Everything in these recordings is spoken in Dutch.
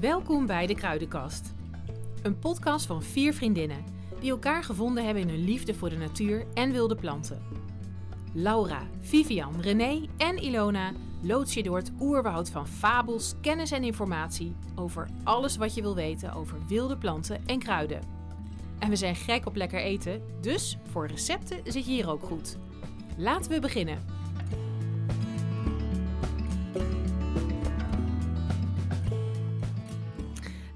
Welkom bij De Kruidenkast. Een podcast van vier vriendinnen die elkaar gevonden hebben in hun liefde voor de natuur en wilde planten. Laura, Vivian, René en Ilona loods je door het oerwoud van fabels, kennis en informatie over alles wat je wil weten over wilde planten en kruiden. En we zijn gek op lekker eten, dus voor recepten zit je hier ook goed. Laten we beginnen.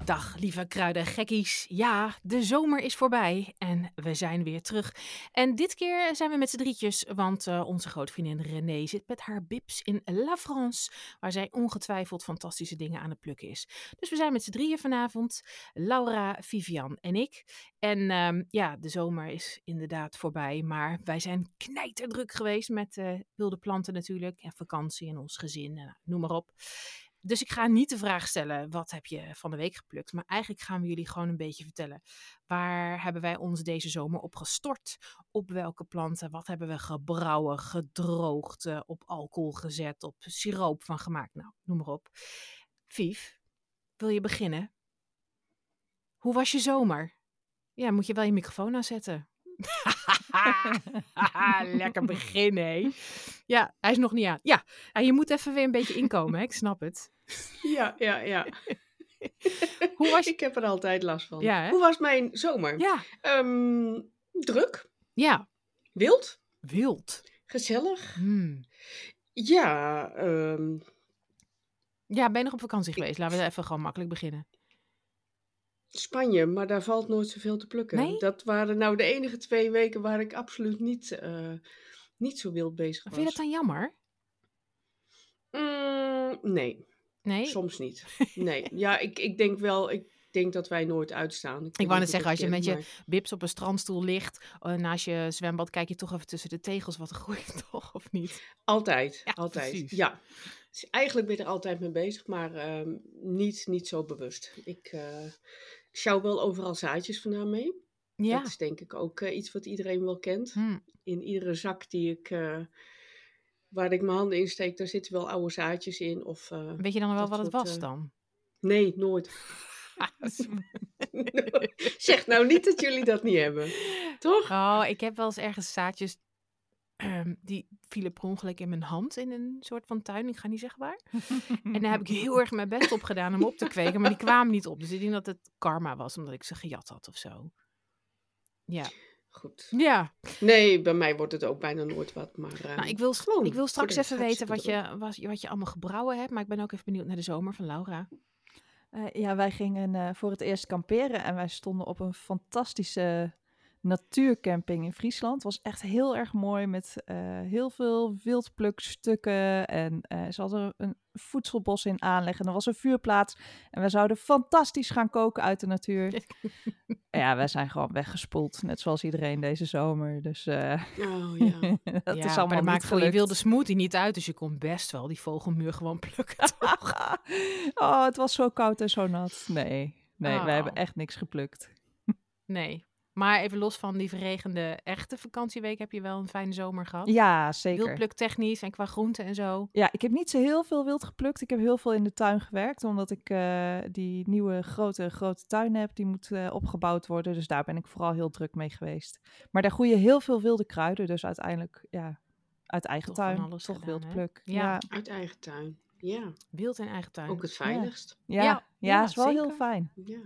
Dag lieve kruidengekkies. Ja, de zomer is voorbij en we zijn weer terug. En dit keer zijn we met z'n drietjes, want eh, onze grootvriendin René zit met haar bips in La France, waar zij ongetwijfeld fantastische dingen aan het plukken is. Dus we zijn met z'n drieën vanavond, Laura, Vivian en ik. En ehm, ja, de zomer is inderdaad voorbij, maar wij zijn knijterdruk geweest met eh, wilde planten natuurlijk en vakantie en ons gezin, en, nou, noem maar op. Dus ik ga niet de vraag stellen, wat heb je van de week geplukt? Maar eigenlijk gaan we jullie gewoon een beetje vertellen. Waar hebben wij ons deze zomer op gestort? Op welke planten? Wat hebben we gebrouwen, gedroogd, eh, op alcohol gezet, op siroop van gemaakt? Nou, noem maar op. Vief, wil je beginnen? Hoe was je zomer? Ja, moet je wel je microfoon aanzetten. Lekker beginnen, hé. Ja, hij is nog niet aan. Ja, ja, je moet even weer een beetje inkomen, hè? ik snap het. Ja, ja, ja. Hoe was je- Ik heb er altijd last van. Ja, hè? Hoe was mijn zomer? Ja, Ehm, druk, ja, wild, wild. gezellig. Hmm. Ja, ehm, Ja, ben je nog op vakantie geweest? Laten we even gewoon makkelijk beginnen. Spanje, maar daar valt nooit zoveel te plukken. Nee? Dat waren nou de enige twee weken waar ik absoluut niet, eh, niet zo wild bezig was. Vind je dat dan jammer? Mm, nee, Nee? soms niet. Nee, ja, ik, ik denk wel, ik denk dat wij nooit uitstaan. Ik weet wou niet net hoe zeggen, dat als je komt, Bips op een strandstoel ligt, eh, naast je zwembad, kijk je toch even tussen de tegels wat er groeit, toch? Of niet? maar Altijd, Ja, altijd. precies. Ja. Dus eigenlijk ben ik er altijd mee bezig, maar ehm, niet, niet zo bewust. Ik eh sjouw wel overal zaadjes vandaan mee. Ja. Dat is denk ik ook eh, iets wat iedereen wel kent. Hmm. In iedere zak die ik, eh, waar ik mijn handen in steek, daar zitten wel oude zaadjes in. Of eh, Weet je dan wel Dat wat het soort, was eh, dan? nee, nooit. zeg nou niet dat jullie dat niet hebben, toch? Oh, ik heb wel eens ergens zaadjes, ehm, die vielen per ongeluk in mijn hand in een soort van tuin. Ik ga niet zeggen waar. En daar heb Mhm. ik heel erg mijn best op gedaan om op te kweken, maar die kwamen niet op. Dus ik denk dat het karma was, omdat ik ze gejat had of zo. Ja. Goed. Ja. Nee, bij mij wordt het ook bijna nooit wat. Maar eh, Nou, ik wil, gewoon, ik wil voor straks de even rest weten wat hartstikke je, wat, je- wat je allemaal gebrouwen hebt. Maar ik ben ook even benieuwd naar de zomer van Laura. Eh, ja, wij gingen eh, voor het eerst kamperen en wij stonden op een fantastische natuurcamping in Friesland. Het was echt heel erg mooi met eh, heel veel wildplukstukken en eh, ze hadden een voedselbos in aanleg en er was een vuurplaats. En we zouden fantastisch gaan koken uit de natuur. ja, wij zijn gewoon weggespoeld, net zoals iedereen deze zomer. Dus eh, druk. Oh ja. dat Mm. ja, maar is allemaal dat niet maakt voor je gelukt. wilde smoothie niet uit. Dus je kon best wel die vogelmuur gewoon plukken. toch? oh, het was zo koud en zo nat. Nee, nee, Oh. wij hebben echt niks geplukt. nee. Maar even los van die verregende echte vakantieweek heb je wel een fijne zomer gehad. Ja, zeker. Wildpluktechnisch en qua groenten en zo. Ja, ik heb niet zo heel veel wild geplukt. Ik heb heel veel in de tuin gewerkt, omdat ik eh, die nieuwe grote, grote tuin heb. Die moet eh, opgebouwd worden, dus daar ben ik vooral heel druk mee geweest. Maar daar groeien heel veel wilde kruiden, dus uiteindelijk, ja, uit eigen Toch van tuin, alles toch gedaan, wild hè? pluk. Ja. Ja, ja, Uit eigen tuin. Ja, Wild en eigen tuin. ook het veiligst. ja, Ja, ja, is wel heel zeker. fijn. Ja.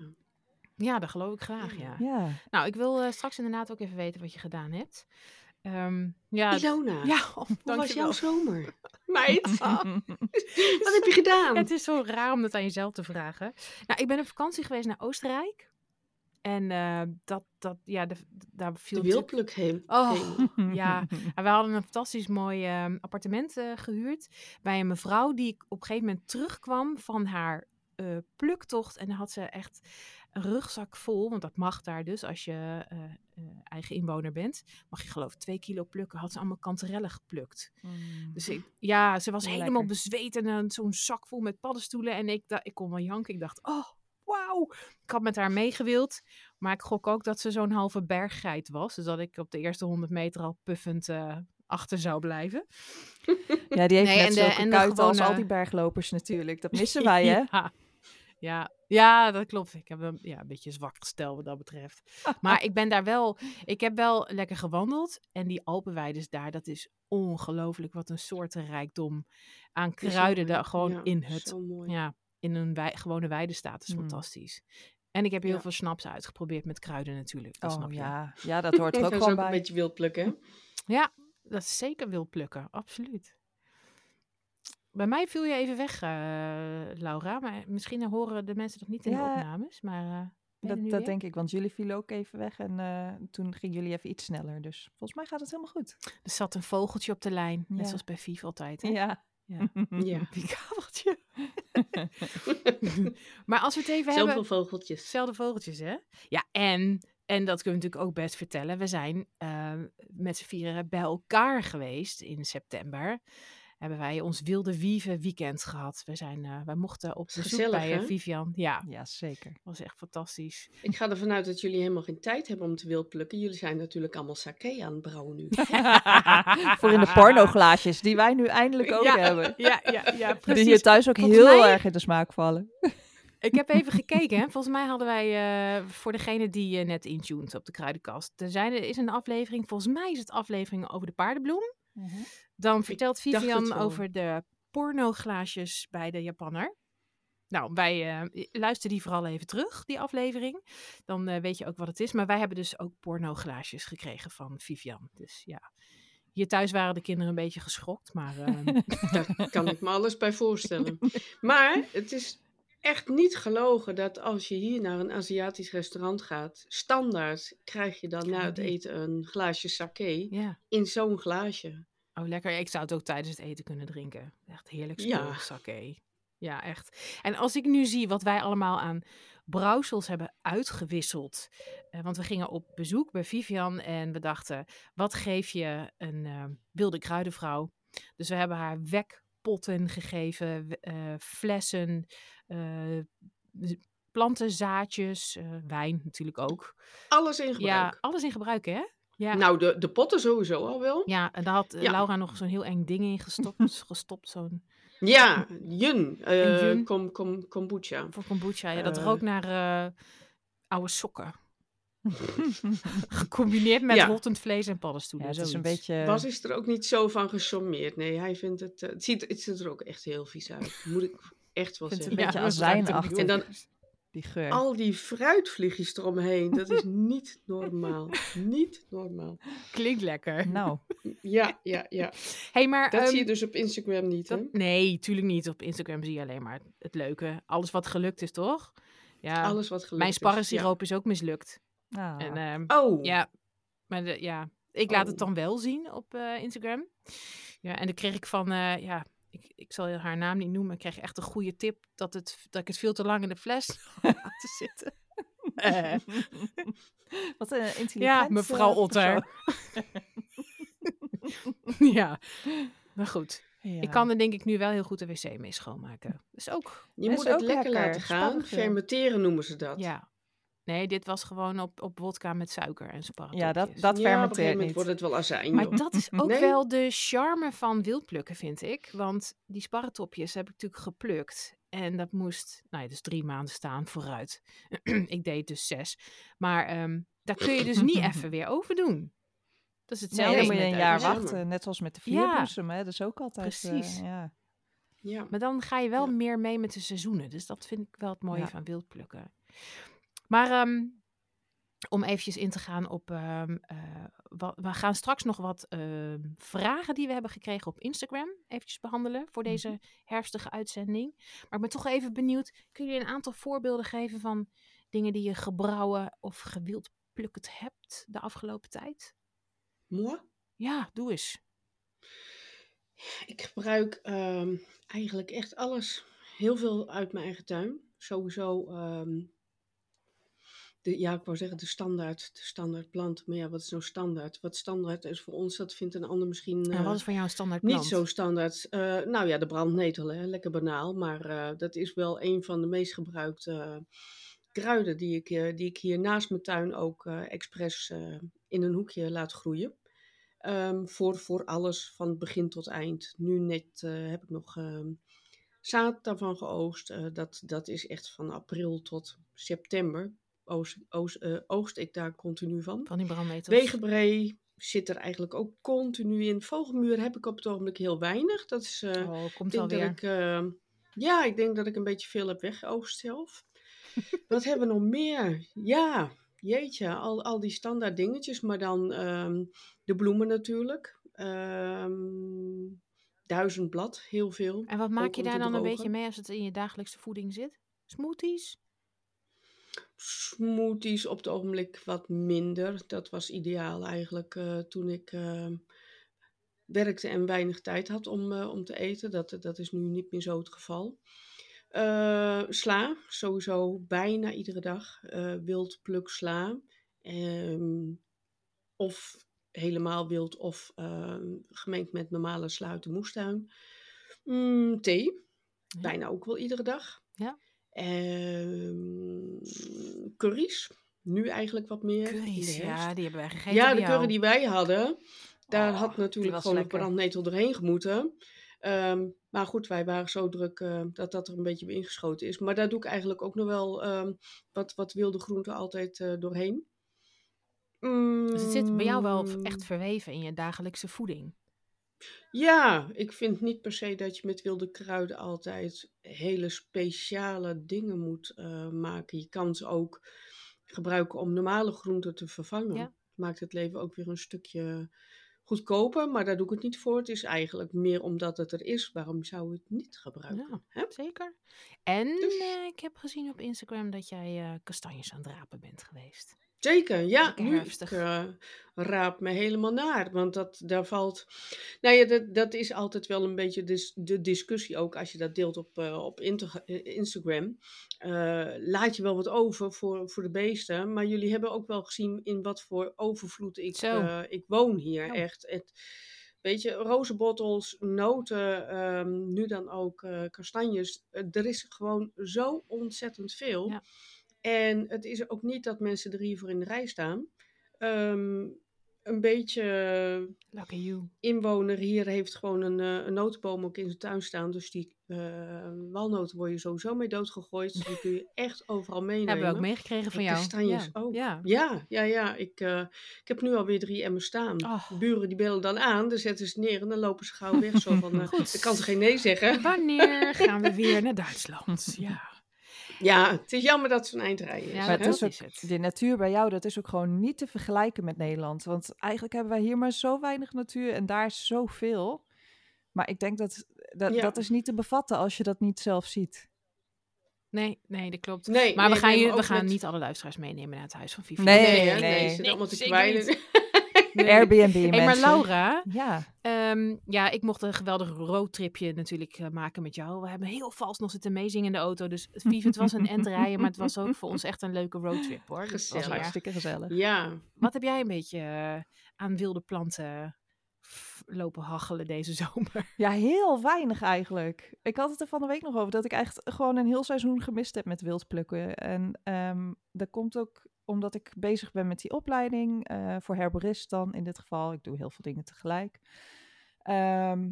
Ja, dat geloof ik graag, ja. Ja. Nou, ik wil eh, straks inderdaad ook even weten wat je gedaan hebt. Ehm, ja, Ilona, ja oh, hoe was dankjewel. jouw zomer? Meid, Ah. wat heb je gedaan? Ja, het is zo raar om dat aan jezelf te vragen. Nou, ik ben op vakantie geweest naar Oostenrijk. En eh, dat, dat, ja, de, daar viel De natuurlijk- wildpluk heen. Oh. heen. Ja, en we hadden een fantastisch mooi ehm, appartement eh, gehuurd bij een mevrouw die ik op een gegeven moment terugkwam van haar eh, pluktocht. En dan had ze echt een rugzak vol, want dat mag daar dus als je eh, eh, eigen inwoner bent. Mag je geloof ik twee kilo plukken, had ze allemaal kanterellen geplukt. Dus ik, ja, ze was Ja, helemaal lekker. bezweet en een- zo'n zak vol met paddenstoelen. En ik, da- ik kon wel janken. Ik dacht, oh, wauw. Ik had met haar meegewild. Maar ik gok ook dat ze zo'n halve berggeit was. Dus dat ik op de eerste 100 meter al puffend eh, achter zou blijven. Ja, die heeft Nee, en net de- zulke en de kuiten als al gewone- die berglopers natuurlijk. Dat missen wij, hè? Ja. Ja, ja, dat klopt. Ik heb een, ja, een beetje zwak gestel wat dat betreft. Maar ik ben daar wel, ik heb wel lekker gewandeld. En die Alpenweides daar, dat is ongelooflijk wat een soortenrijkdom aan kruiden daar gewoon Ja, in het. Zo mooi. Ja, in een wei- gewone weide staat is Mm. fantastisch. En ik heb heel Ja. veel snaps uitgeprobeerd met kruiden natuurlijk. Dat Oh snap je. ja. ja, dat hoort er ook dat is ook gewoon een bij. beetje wild plukken, hè? Ja, dat is zeker wil plukken, absoluut. Bij mij viel je even weg, eh, Laura. Maar misschien horen de mensen dat niet in de Ja, opnames. Maar eh, ben je er nu Dat, weer? dat denk ik, want jullie vielen ook even weg en eh, toen gingen jullie even iets sneller. Dus volgens mij gaat het helemaal goed. Er zat een vogeltje op de lijn, net Ja. zoals bij Vief altijd. Hè? Ja. Ja. Ja. Pikabeltje. maar als we het even hebben... Zoveel vogeltjes. Zelfde vogeltjes, hè? Ja, en, en dat kunnen we natuurlijk ook best vertellen. We zijn eh, met z'n vieren bij elkaar geweest in september. Hebben wij ons wilde wieven weekend gehad. We zijn, eh, wij mochten op bezoek Gezellig, bij eh, hè? Vivian. Ja, ja, zeker. was echt fantastisch. Ik ga ervan uit dat jullie helemaal geen tijd hebben om te wild plukken. Jullie zijn natuurlijk allemaal sake aan het brouwen nu. Voor in de pornoglaasjes, die wij nu eindelijk ook Ja. hebben. Ja, ja, ja, Die hier precies. thuis ook Volgens heel mij- erg in de smaak vallen. Ik heb even gekeken. Hè. Volgens mij hadden wij, eh, voor degene die eh, net intuned op de kruidenkast, er, zijn, er is een aflevering, volgens mij is het aflevering over de paardenbloem. Mhm. Dan vertelt dacht het Vivian wel. over de pornoglaasjes bij de Japanner. Nou, wij eh luister die vooral even terug, die aflevering. Dan eh, weet je ook wat het is. Maar wij hebben dus ook pornoglaasjes gekregen van Vivian. Dus ja, hier thuis waren de kinderen een beetje geschokt. Maar ehm, Daar kan ik me alles bij voorstellen. Maar het is echt niet gelogen dat als je hier naar een Aziatisch restaurant gaat, standaard krijg je dan na het die. eten een glaasje sake ja, in zo'n glaasje. oh lekker. Ik zou het ook tijdens het eten kunnen drinken. Echt heerlijk spul, Ja. sake. Ja, echt. En als ik nu zie wat wij allemaal aan brouwsels hebben uitgewisseld. Eh, want we gingen op bezoek bij Vivian en we dachten, wat geef je een eh, wilde kruidenvrouw? Dus we hebben haar wekpotten gegeven, w- eh, flessen, eh, z- plantenzaadjes, eh, wijn natuurlijk ook. Alles in gebruik. Ja, alles in gebruik hè? Ja. Nou, de, de potten sowieso al wel. Ja, Ja, en daar had eh, Ja. Laura nog zo'n heel eng ding in gestopt. gestopt zo'n, jun, eh, Jun. Kom, kom, kombucha. voor kombucha. Ja, dat Eh. rook naar eh, oude sokken. Gecombineerd met Ja. rottend vlees en paddenstoelen. Ja, het is een zoiets. beetje... Bas is er ook niet zo van gesommeerd. Nee, hij vindt het, eh, het, ziet, het ziet er ook echt heel vies uit. Moet ik echt wel Vindt zeggen. een beetje dat ruikt ook niet azijnachtig. goed. En dan Die geur. Al die fruitvliegjes eromheen, dat is niet normaal. niet normaal. Klinkt lekker. Nou, Ja, ja, ja. Hey, maar, Dat ehm, zie je dus op Instagram niet, hè? dat- nee, tuurlijk niet. Op Instagram zie je alleen maar het leuke. Alles wat gelukt is, toch? Ja, Alles wat gelukt mijn is, sparrensiroop is ook mislukt. ah. En, ehm, ja. Oh, Ja, maar de- ja, ik laat het Oh. dan wel zien op eh, Instagram. Ja, en dan kreeg ik van, eh, ja, ik, ik zal haar naam niet noemen. Ik kreeg echt een goede tip dat, het, dat ik het veel te lang in de fles laat zitten. Eh, Wat een intelligent. ja, mevrouw eh, Otter. ja, maar goed. persoon. Ja. Ik kan er denk ik nu wel heel goed de wc mee schoonmaken. Dus ook, je Is moet het ook lekker lekker, laten gaan. sparren. Fermenteren noemen ze dat. ja. Nee, dit was gewoon op, op wodka met suiker en sparretopjes. Ja, dat, dat Ja, op een gegeven fermenteert moment niet. wordt het wel azijn. Maar joh. dat is ook Nee? wel de charme van wildplukken, vind ik. Want die sparretopjes heb ik natuurlijk geplukt. En dat moest, nou ja, dus drie maanden staan vooruit. ik deed dus zes. Maar ehm, daar kun je dus niet even weer over doen. Dat is Nee, hetzelfde. dan is moet je met een de- jaar Ja. wachten. Net zoals met de vierbloesem, hè. Dat is ook altijd... eh, Precies. ja. Ja. Maar dan ga je wel Ja. meer mee met de seizoenen. Dus dat vind ik wel het mooie Ja. van wildplukken. Maar ehm, om eventjes in te gaan op... ehm, eh, wa- we gaan straks nog wat ehm, vragen die we hebben gekregen op Instagram... eventjes behandelen voor Mhm. deze herfstige uitzending. Maar ik ben toch even benieuwd... kunnen jullie een aantal voorbeelden geven van dingen die je gebrouwen... of gewildplukt hebt de afgelopen tijd? Mooi. Ja, doe eens. Ik gebruik ehm, eigenlijk echt alles. Heel veel uit mijn eigen tuin. Sowieso. ehm, de, ja, ik wou zeggen de standaard, de standaard plant. Maar ja, wat is nou standaard? Wat standaard is voor ons, dat vindt een ander misschien En eh, Nou, wat is voor jou een standaard plant? niet zo standaard. Eh, nou ja, de brandnetel, hè? lekker banaal. Maar eh, dat is wel een van de meest gebruikte eh, kruiden die ik, eh, die ik hier naast mijn tuin ook eh, expres eh, in een hoekje laat groeien. Ehm, voor, voor alles van begin tot eind. Nu net eh, heb ik nog ehm, zaad daarvan geoogst. Eh, dat, dat is echt van april tot september. Oogst, oogst, eh, oogst ik daar continu van. Van die brandnetels. Wegenbree zit er eigenlijk ook continu in. Vogelmuur heb ik op het ogenblik heel weinig. Dat is, eh, Oh, komt ik denk dat alweer. ik, eh, ja, ik denk dat ik een beetje veel heb weggeoogst zelf. Wat hebben we nog meer? Ja, jeetje, al, al die standaard dingetjes, maar dan ehm, de bloemen natuurlijk. Ehm, duizendblad, heel veel. En wat maak ook je om daar te dan een drogen. beetje mee als het in je dagelijkse voeding zit? Smoothies? Smoothies op het ogenblik wat minder. Dat was ideaal eigenlijk eh, toen ik ehm, werkte en weinig tijd had om, eh, om te eten. Dat, dat is nu niet meer zo het geval. Eh, sla, sowieso bijna iedere dag. eh, wild pluk sla. Ehm, of helemaal wild of ehm, gemengd met normale sla uit de moestuin. Mm, thee, Ja. bijna ook wel iedere dag. Ja. Ehm, curry's, nu eigenlijk wat meer. in de Curry's, herfst. ja, die hebben wij gegeten Ja, bij de jou. curry die wij hadden, daar Oh, had die natuurlijk was gewoon lekker. een brandnetel doorheen gemoeten. Ehm, maar goed, wij waren zo druk eh, dat dat er een beetje bij ingeschoten is. Maar daar doe ik eigenlijk ook nog wel ehm, wat, wat wilde groenten altijd eh, doorheen. Dus het zit bij jou wel v- Mm, echt verweven in je dagelijkse voeding. Ja, ik vind niet per se dat je met wilde kruiden altijd hele speciale dingen moet eh, maken. Je kan ze ook gebruiken om normale groenten te vervangen. Ja. Maakt het leven ook weer een stukje goedkoper, maar daar doe ik het niet voor. Het is eigenlijk meer omdat het er is. Waarom zou je het niet gebruiken? Hè? Zeker. En Dus- eh, ik heb gezien op Instagram dat jij eh, kastanjes aan het rapen bent geweest. Zeker, ja. Lekker Nu ik, herfstig. eh, raap me helemaal naar, want dat, daar valt... Nou ja, dat, dat is altijd wel een beetje dus de discussie ook als je dat deelt op, eh, op inter- eh, Instagram. Eh, laat je wel wat over voor, voor de beesten, maar jullie hebben ook wel gezien in wat voor overvloed ik, Zo. Oh. eh, ik woon hier. Ja. Echt, het, weet je, rozenbottels, noten, ehm, nu dan ook eh, kastanjes. Eh, er is gewoon zo ontzettend veel. Ja. En het is ook niet dat mensen er hiervoor in de rij staan. Ehm, een beetje Lucky you. inwoner hier heeft gewoon een, eh, een notenboom ook in zijn tuin staan. Dus die eh, walnoten word je sowieso mee doodgegooid. Dus die kun je echt overal meenemen. Hebben we ook meegekregen van En jou. kastanjes ja. ook. Ja. Ja, ja, ja. Ik, eh, ik heb nu alweer drie emmen staan. Oh. Buren die bellen dan aan, dan zetten ze neer en dan lopen ze gauw weg. Zo van, eh Goed. ik kan ze geen nee zeggen. Wanneer gaan we weer naar Duitsland? Ja, Ja, het is jammer dat ze een eind rijden. ja Maar dat, het is dat is het. De natuur bij jou, dat is ook gewoon niet te vergelijken met Nederland. Want eigenlijk hebben wij hier maar zo weinig natuur en daar is zoveel. Maar ik denk dat dat, Ja. dat is niet te bevatten als je dat niet zelf ziet. Nee, nee, dat klopt. Nee, maar nee, we gaan, nee, je, maar we ook gaan met- niet alle luisteraars meenemen naar het huis van Vivian. Nee, Nee, hè? nee. nee, ze zitten allemaal te zeker kwijlen. niet. Airbnb Hey, mensen. maar Laura, Ja, ehm, ja, ik mocht een geweldig roadtripje natuurlijk eh, maken met jou. We hebben heel vals nog zitten meezingen in de auto. Dus Vivian, het was een end rijden, maar het was ook voor ons echt een leuke roadtrip hoor. Dus het was Gezellig. erg. hartstikke gezellig. Ja, Wat heb jij een beetje eh, aan wilde planten f- lopen hachelen deze zomer? Ja, heel weinig eigenlijk. Ik had het er van de week nog over dat ik echt gewoon een heel seizoen gemist heb met wildplukken. En ehm, dat komt ook omdat ik bezig ben met die opleiding eh, voor herborist dan in dit geval. Ik doe heel veel dingen tegelijk. Ehm,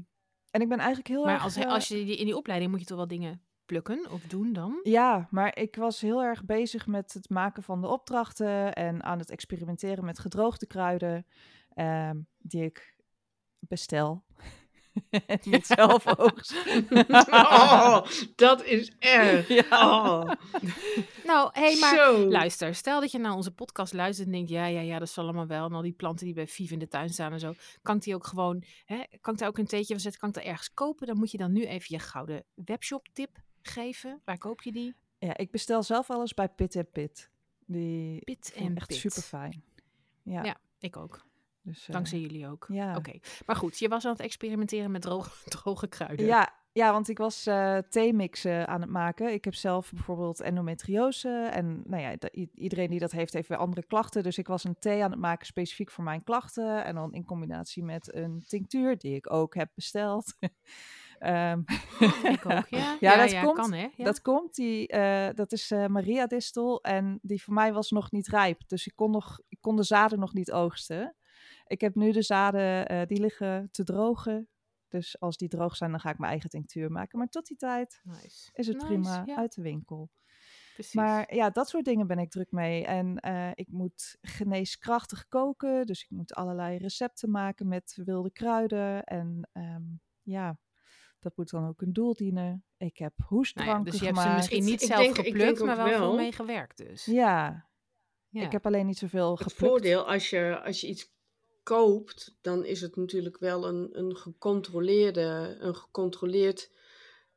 en ik ben eigenlijk heel Maar erg... als, eh, als je die, in die opleiding moet je toch wel dingen plukken of doen dan? Ja, maar ik was heel erg bezig met het maken van de opdrachten en aan het experimenteren met gedroogde kruiden ehm, die ik bestel. en niet zelf oogst. Oh, dat is erg. Ja. Oh, Nou, hé, maar zo. Luister, stel dat je naar onze podcast luistert en denkt, ja, ja, ja, dat zal allemaal wel. En al die planten die bij Viv in de tuin staan en zo. Kan ik die ook gewoon, hè, kan ik daar ook een theetje van zetten? Kan ik daar ergens kopen? Dan moet je dan nu even je gouden webshop tip geven. Waar koop je die? Ja, ik bestel zelf alles bij Pit Pit. Die Pit vind ik en echt Pit. super fijn. Ja, Ja. Ik ook. dus, eh, Dankzij jullie ook. ja. Oké. Maar goed, je was aan het experimenteren met droge, droge kruiden. Ja, ja, want ik was eh theemixen aan het maken. Ik heb zelf bijvoorbeeld endometriose. En nou ja, dat- i- iedereen die dat heeft, heeft weer andere klachten. Dus ik was een thee aan het maken specifiek voor mijn klachten. En dan in combinatie met een tinctuur, die ik ook heb besteld. Ehm, Ik ook, ja. Ja, dat komt- kan hè. Ja. Dat komt, die, eh, dat is eh, Maria Distel. En die voor mij was nog niet rijp. Dus ik kon, nog, ik kon de zaden nog niet oogsten. Ik heb nu de zaden, eh, die liggen te drogen Dus als die droog zijn, dan ga ik mijn eigen tinctuur maken. Maar tot die tijd Nice. is het Nice, prima ja, uit de winkel. precies. Nou Maar ja, dat soort dingen ben ik druk mee. En eh, ik moet geneeskrachtig koken. Dus ik moet allerlei recepten maken met wilde kruiden. En ehm, ja, dat moet dan ook een doel dienen. Ik heb Nou ja, hoestdranken dus je hebt gemaakt. ze misschien niet Ik zelf denk- ik denk geplukt, ook maar wel, wel. veel mee gewerkt dus. Ja, Ja. ik heb alleen niet zoveel Het geplukt. voordeel, als je, als je iets koopt, dan is het natuurlijk wel een, een gecontroleerde, een gecontroleerd,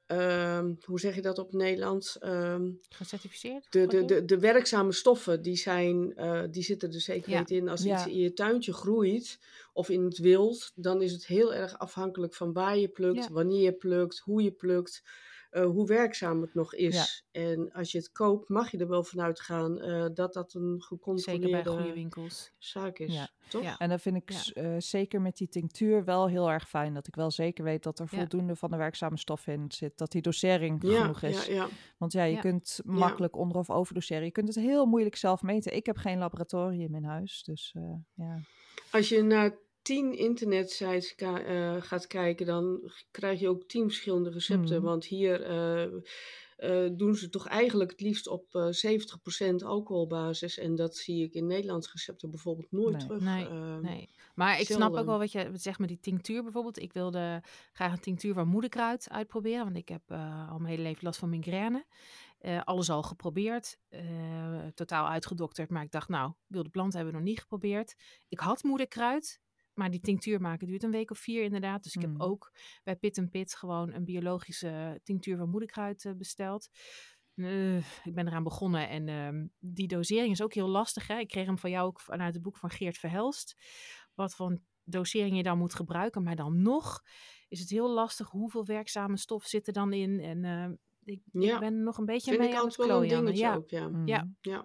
ehm, hoe zeg je dat op Nederlands? Ehm, Gecertificeerd? de, de, Wat de, de werkzame stoffen, die, zijn, eh, die zitten er zeker Ja, niet in. Als ja. iets in je tuintje groeit of in het wild, dan is het heel erg afhankelijk van waar je plukt, Ja. wanneer je plukt, hoe je plukt, eh, hoe werkzaam het nog is. En als je het koopt, mag je er wel vanuit gaan eh, dat dat een doe je? Zeker bij goede gecontroleerde winkels. zaak is. Ja. Toch? Ja. En dat vind ik Ja. s- eh, zeker met die tinctuur wel heel erg fijn. Dat ik wel zeker weet dat er Ja. voldoende van de werkzame stof in zit. Dat die dosering Ja, genoeg ja, is. ja. Want ja, je Ja. kunt makkelijk onder- of overdoseren. Je kunt het heel moeilijk zelf meten. Ik heb geen laboratorium in huis, dus eh, ja. Als je naar tien internetsites ka- eh, gaat kijken, dan g- krijg je ook tien verschillende recepten. Mhm. Want hier eh, eh, doen ze toch eigenlijk het liefst op eh 70% alcoholbasis. En dat zie ik in Nederlands recepten bijvoorbeeld nooit Nee. terug. Nee, Ehm, Nee. Maar ik snap ook zelden. wel wat je zegt met die tinctuur bijvoorbeeld. Ik wilde graag een tinctuur van moederkruid uitproberen. Want ik heb eh, al mijn hele leven last van migraine. Eh, alles al geprobeerd. eh, totaal uitgedokterd. Maar ik dacht, nou, wilde planten hebben we nog niet geprobeerd. Ik had moederkruid. Maar die tinctuur maken duurt een week of vier inderdaad. Dus ik Hmm. heb ook bij Pit en Pit gewoon een biologische tinctuur van moederkruid eh, besteld. Eh, ik ben eraan begonnen en ehm, die dosering is ook heel lastig. Hè? Ik kreeg hem van jou ook vanuit het boek van Geert Verhelst. Wat voor een dosering je dan moet gebruiken. Maar dan nog is het heel lastig hoeveel werkzame stof zit er dan in. En ehm, ik, Ja. ik ben er nog een beetje Vind mee ik aan het altijd wel een klooien. Anne. dingetje Ja, ook, ja. Mhm. Ja. ja.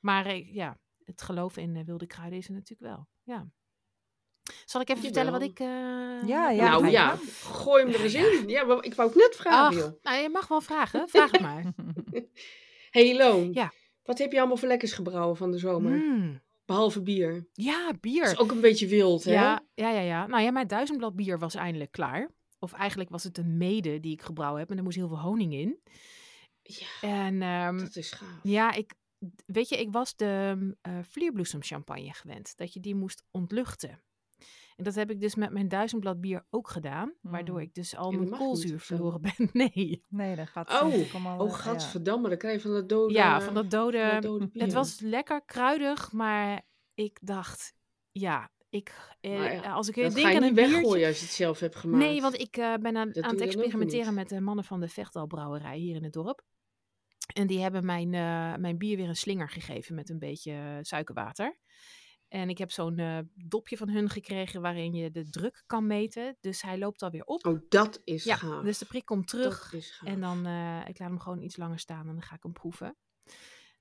maar eh, ja, het geloof in eh, wilde kruiden is er natuurlijk wel. Ja. Zal ik even vertellen wat Jawel. ik... eh, Ja, heb ja, nou gedaan? ja, gooi hem er eens in. Ja, maar ik wou het net Ach, vragen, joh. nou, je mag wel vragen. Vraag het maar. Mm. Hey Loon, Ja. wat heb je allemaal voor lekkers gebrouwen van de zomer? Mm, Behalve bier. ja, Dat bier. is ook een beetje wild, hè? Ja, ja, ja, ja. Nou ja, mijn duizendblad bier was eindelijk klaar. Of eigenlijk was het een mede die ik gebrouwen heb. En er moest heel veel honing in. Ja, En ehm, dat is gaaf. ja, ik, weet je, ik was de eh vlierbloesemchampagne gewend. Dat je die moest ontluchten. En dat heb ik dus met mijn duizendblad bier ook gedaan. Waardoor Mm. ik dus al En Hmm. dat mijn mag niet koolzuur of zo? verloren ben. Nee. Nee, dat gaat Oh, natuurlijk allemaal, Oh, eh, ja. gadverdamme, dan krijg je van dat dode... Ja, van dat dode... eh, van dat dode bier. Het was lekker kruidig, maar ik dacht... Ja, ik, eh, Maar ja, als ik dat denk ga je aan een niet biertje... weggooien als je het zelf hebt gemaakt. Nee, want ik eh, ben aan, doe aan je het dan ook weer experimenteren niet. met de mannen van de Vechtalbrouwerij hier in het dorp. En die hebben mijn, eh, mijn bier weer een slinger gegeven met een beetje eh, suikerwater. En ik heb zo'n eh, dopje van hun gekregen waarin je de druk kan meten. Dus hij loopt alweer op. Oh, dat is ja, gaaf. dus de prik komt terug. Dat is gaaf. En dan, eh, ik laat hem gewoon iets langer staan en dan ga ik hem proeven.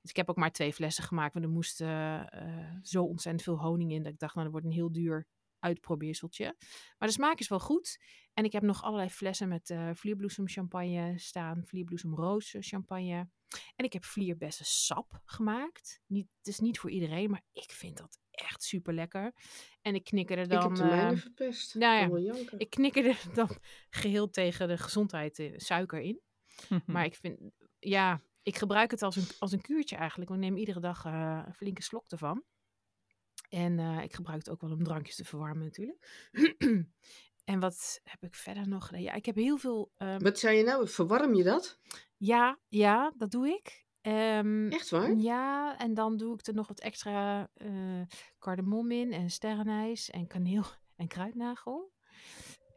Dus ik heb ook maar twee flessen gemaakt, want er moest eh, eh, zo ontzettend veel honing in. Dat ik dacht, nou, dat wordt een heel duur uitprobeerseltje. Maar de smaak is wel goed. En ik heb nog allerlei flessen met eh vlierbloesem champagne staan, vlierbloesem roos champagne. En ik heb vlierbessen sap gemaakt. Niet, het is niet voor iedereen, maar ik vind dat echt super lekker. En ik knikker er ik dan. heb de mijne eh, verpest. nou ja, Ik wil janken. ik knikker er dan geheel tegen de gezondheid eh, suiker in. Hm. Maar ik vind, ja, ik gebruik het als een, als een kuurtje eigenlijk. want Ik neem iedere dag eh, een flinke slok ervan. En eh, ik gebruik het ook wel om drankjes te verwarmen natuurlijk. en wat heb ik verder nog gedaan? Ja, ik heb heel veel... ehm, Wat zei je nou? Verwarm je dat? ja, ja, dat doe ik. Ehm, Echt waar? ja, en dan doe ik er nog wat extra eh kardemom in en sterrenijs en kaneel en kruidnagel.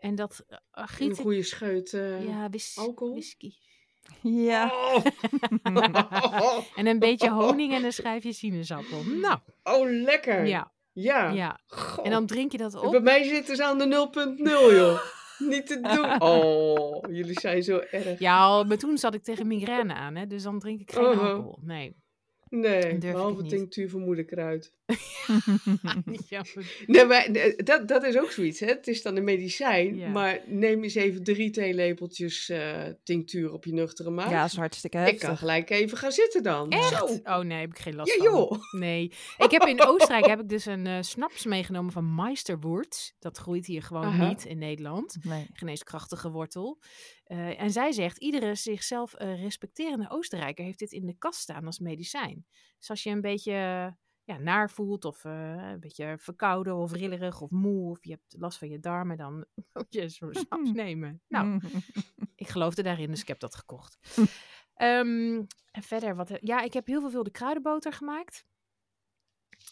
En dat eh, Een giet ik... goede scheut eh, Ja, whis- alcohol? whisky. ja. Oh. En een beetje honing en een schijfje sinaasappel. Nou, oh, lekker. ja, Ja. ja. Goh. En dan drink je dat En bij op. mij zitten ze aan de 0.0, joh. Niet te doen. Oh, jullie zijn zo erg. Ja, maar toen zat ik tegen migraine aan, hè, dus dan drink ik geen Uh-huh. alcohol. Nee, Nee, durf ik behalve niet. tinctuur van moederkruid. Ja, Nee, maar eh, dat, dat is ook zoiets. Hè? Het is dan een medicijn, Ja. maar neem eens even drie theelepeltjes eh, tinctuur op je nuchtere maag. Ja, dat is hartstikke Oh. ik kan heftig. gelijk even gaan zitten dan. Echt? Zo. Oh nee, heb ik geen last Ja van. joh. Nee. Ik heb in Oostenrijk heb ik dus een eh, snaps meegenomen van Meisterwurz. Dat groeit hier gewoon Aha. niet in Nederland. Nee. geneeskrachtige wortel. Eh, en zij zegt, iedere zichzelf eh, respecterende Oostenrijker heeft dit in de kast staan als medicijn. Dus als je een beetje eh, ja, naar voelt of eh, een beetje verkouden of rillerig of moe of je hebt last van je darmen, dan moet je zo'n snaps nemen. Nou, ik geloofde daarin, dus ik heb dat gekocht. Ehm, en verder, wat, he- ja, ik heb heel veel de kruidenboter gemaakt.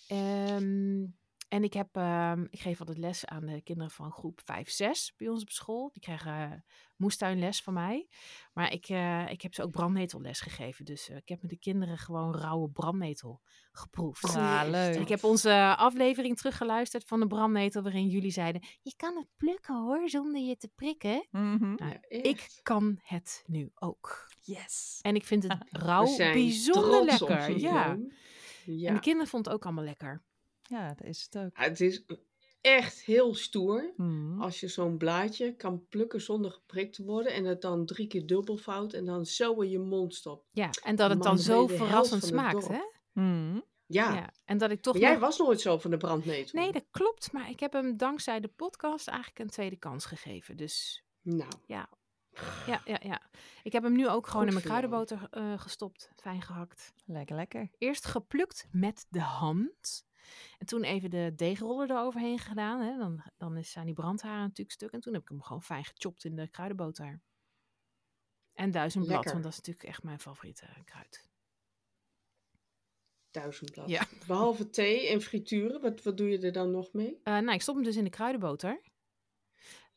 Ehm, en ik, heb, ehm, ik geef altijd les aan de kinderen van groep 5, 6 bij ons op school. Die krijgen eh, moestuinles van mij. Maar ik, eh, ik heb ze ook brandnetelles gegeven. Dus eh, ik heb met de kinderen gewoon rauwe brandnetel geproefd. Nou, leuk. En Ah, Ik heb onze aflevering teruggeluisterd van de brandnetel, waarin jullie zeiden: Je kan het plukken hoor, zonder je te prikken. Mhm. Nou, Ja, Ik kan het nu ook. Yes. En ik vind het We rauw zijn bijzonder trots op lekker. zo'n Ja. film. Ja. En de kinderen vonden het ook allemaal lekker. Ja, dat is het ook. Ah, Het is echt heel stoer Mhm. als je zo'n blaadje kan plukken zonder geprikt te worden en het dan drie keer dubbelvouwt en dan zo in je mond stopt. Ja, en dat het Man, dan dan zo ben je de helft verrassend van het smaakt, dorp. hè? Mhm. Ja, Ja. En dat ik toch Maar jij nog- was nooit zo van de brandnetel. Nee, dat klopt. Maar ik heb hem dankzij de podcast eigenlijk een tweede kans gegeven. Dus Nou, ja, ja, ja. Ik heb hem nu ook gewoon in mijn voor jou. kruidenboter eh, gestopt. Fijn gehakt. Lekker, lekker. Eerst geplukt met de hand. En toen even de deegroller eroverheen gedaan. Hè. Dan, dan is- zijn die brandharen natuurlijk stuk. En toen heb ik hem gewoon fijn gechopt in de kruidenboter. En duizendblad, Lekker. want dat is natuurlijk echt mijn favoriete kruid. duizendblad. Ja. Behalve thee en frituren, wat, wat doe je er dan nog mee? Eh, nou, ik stop hem dus in de kruidenboter.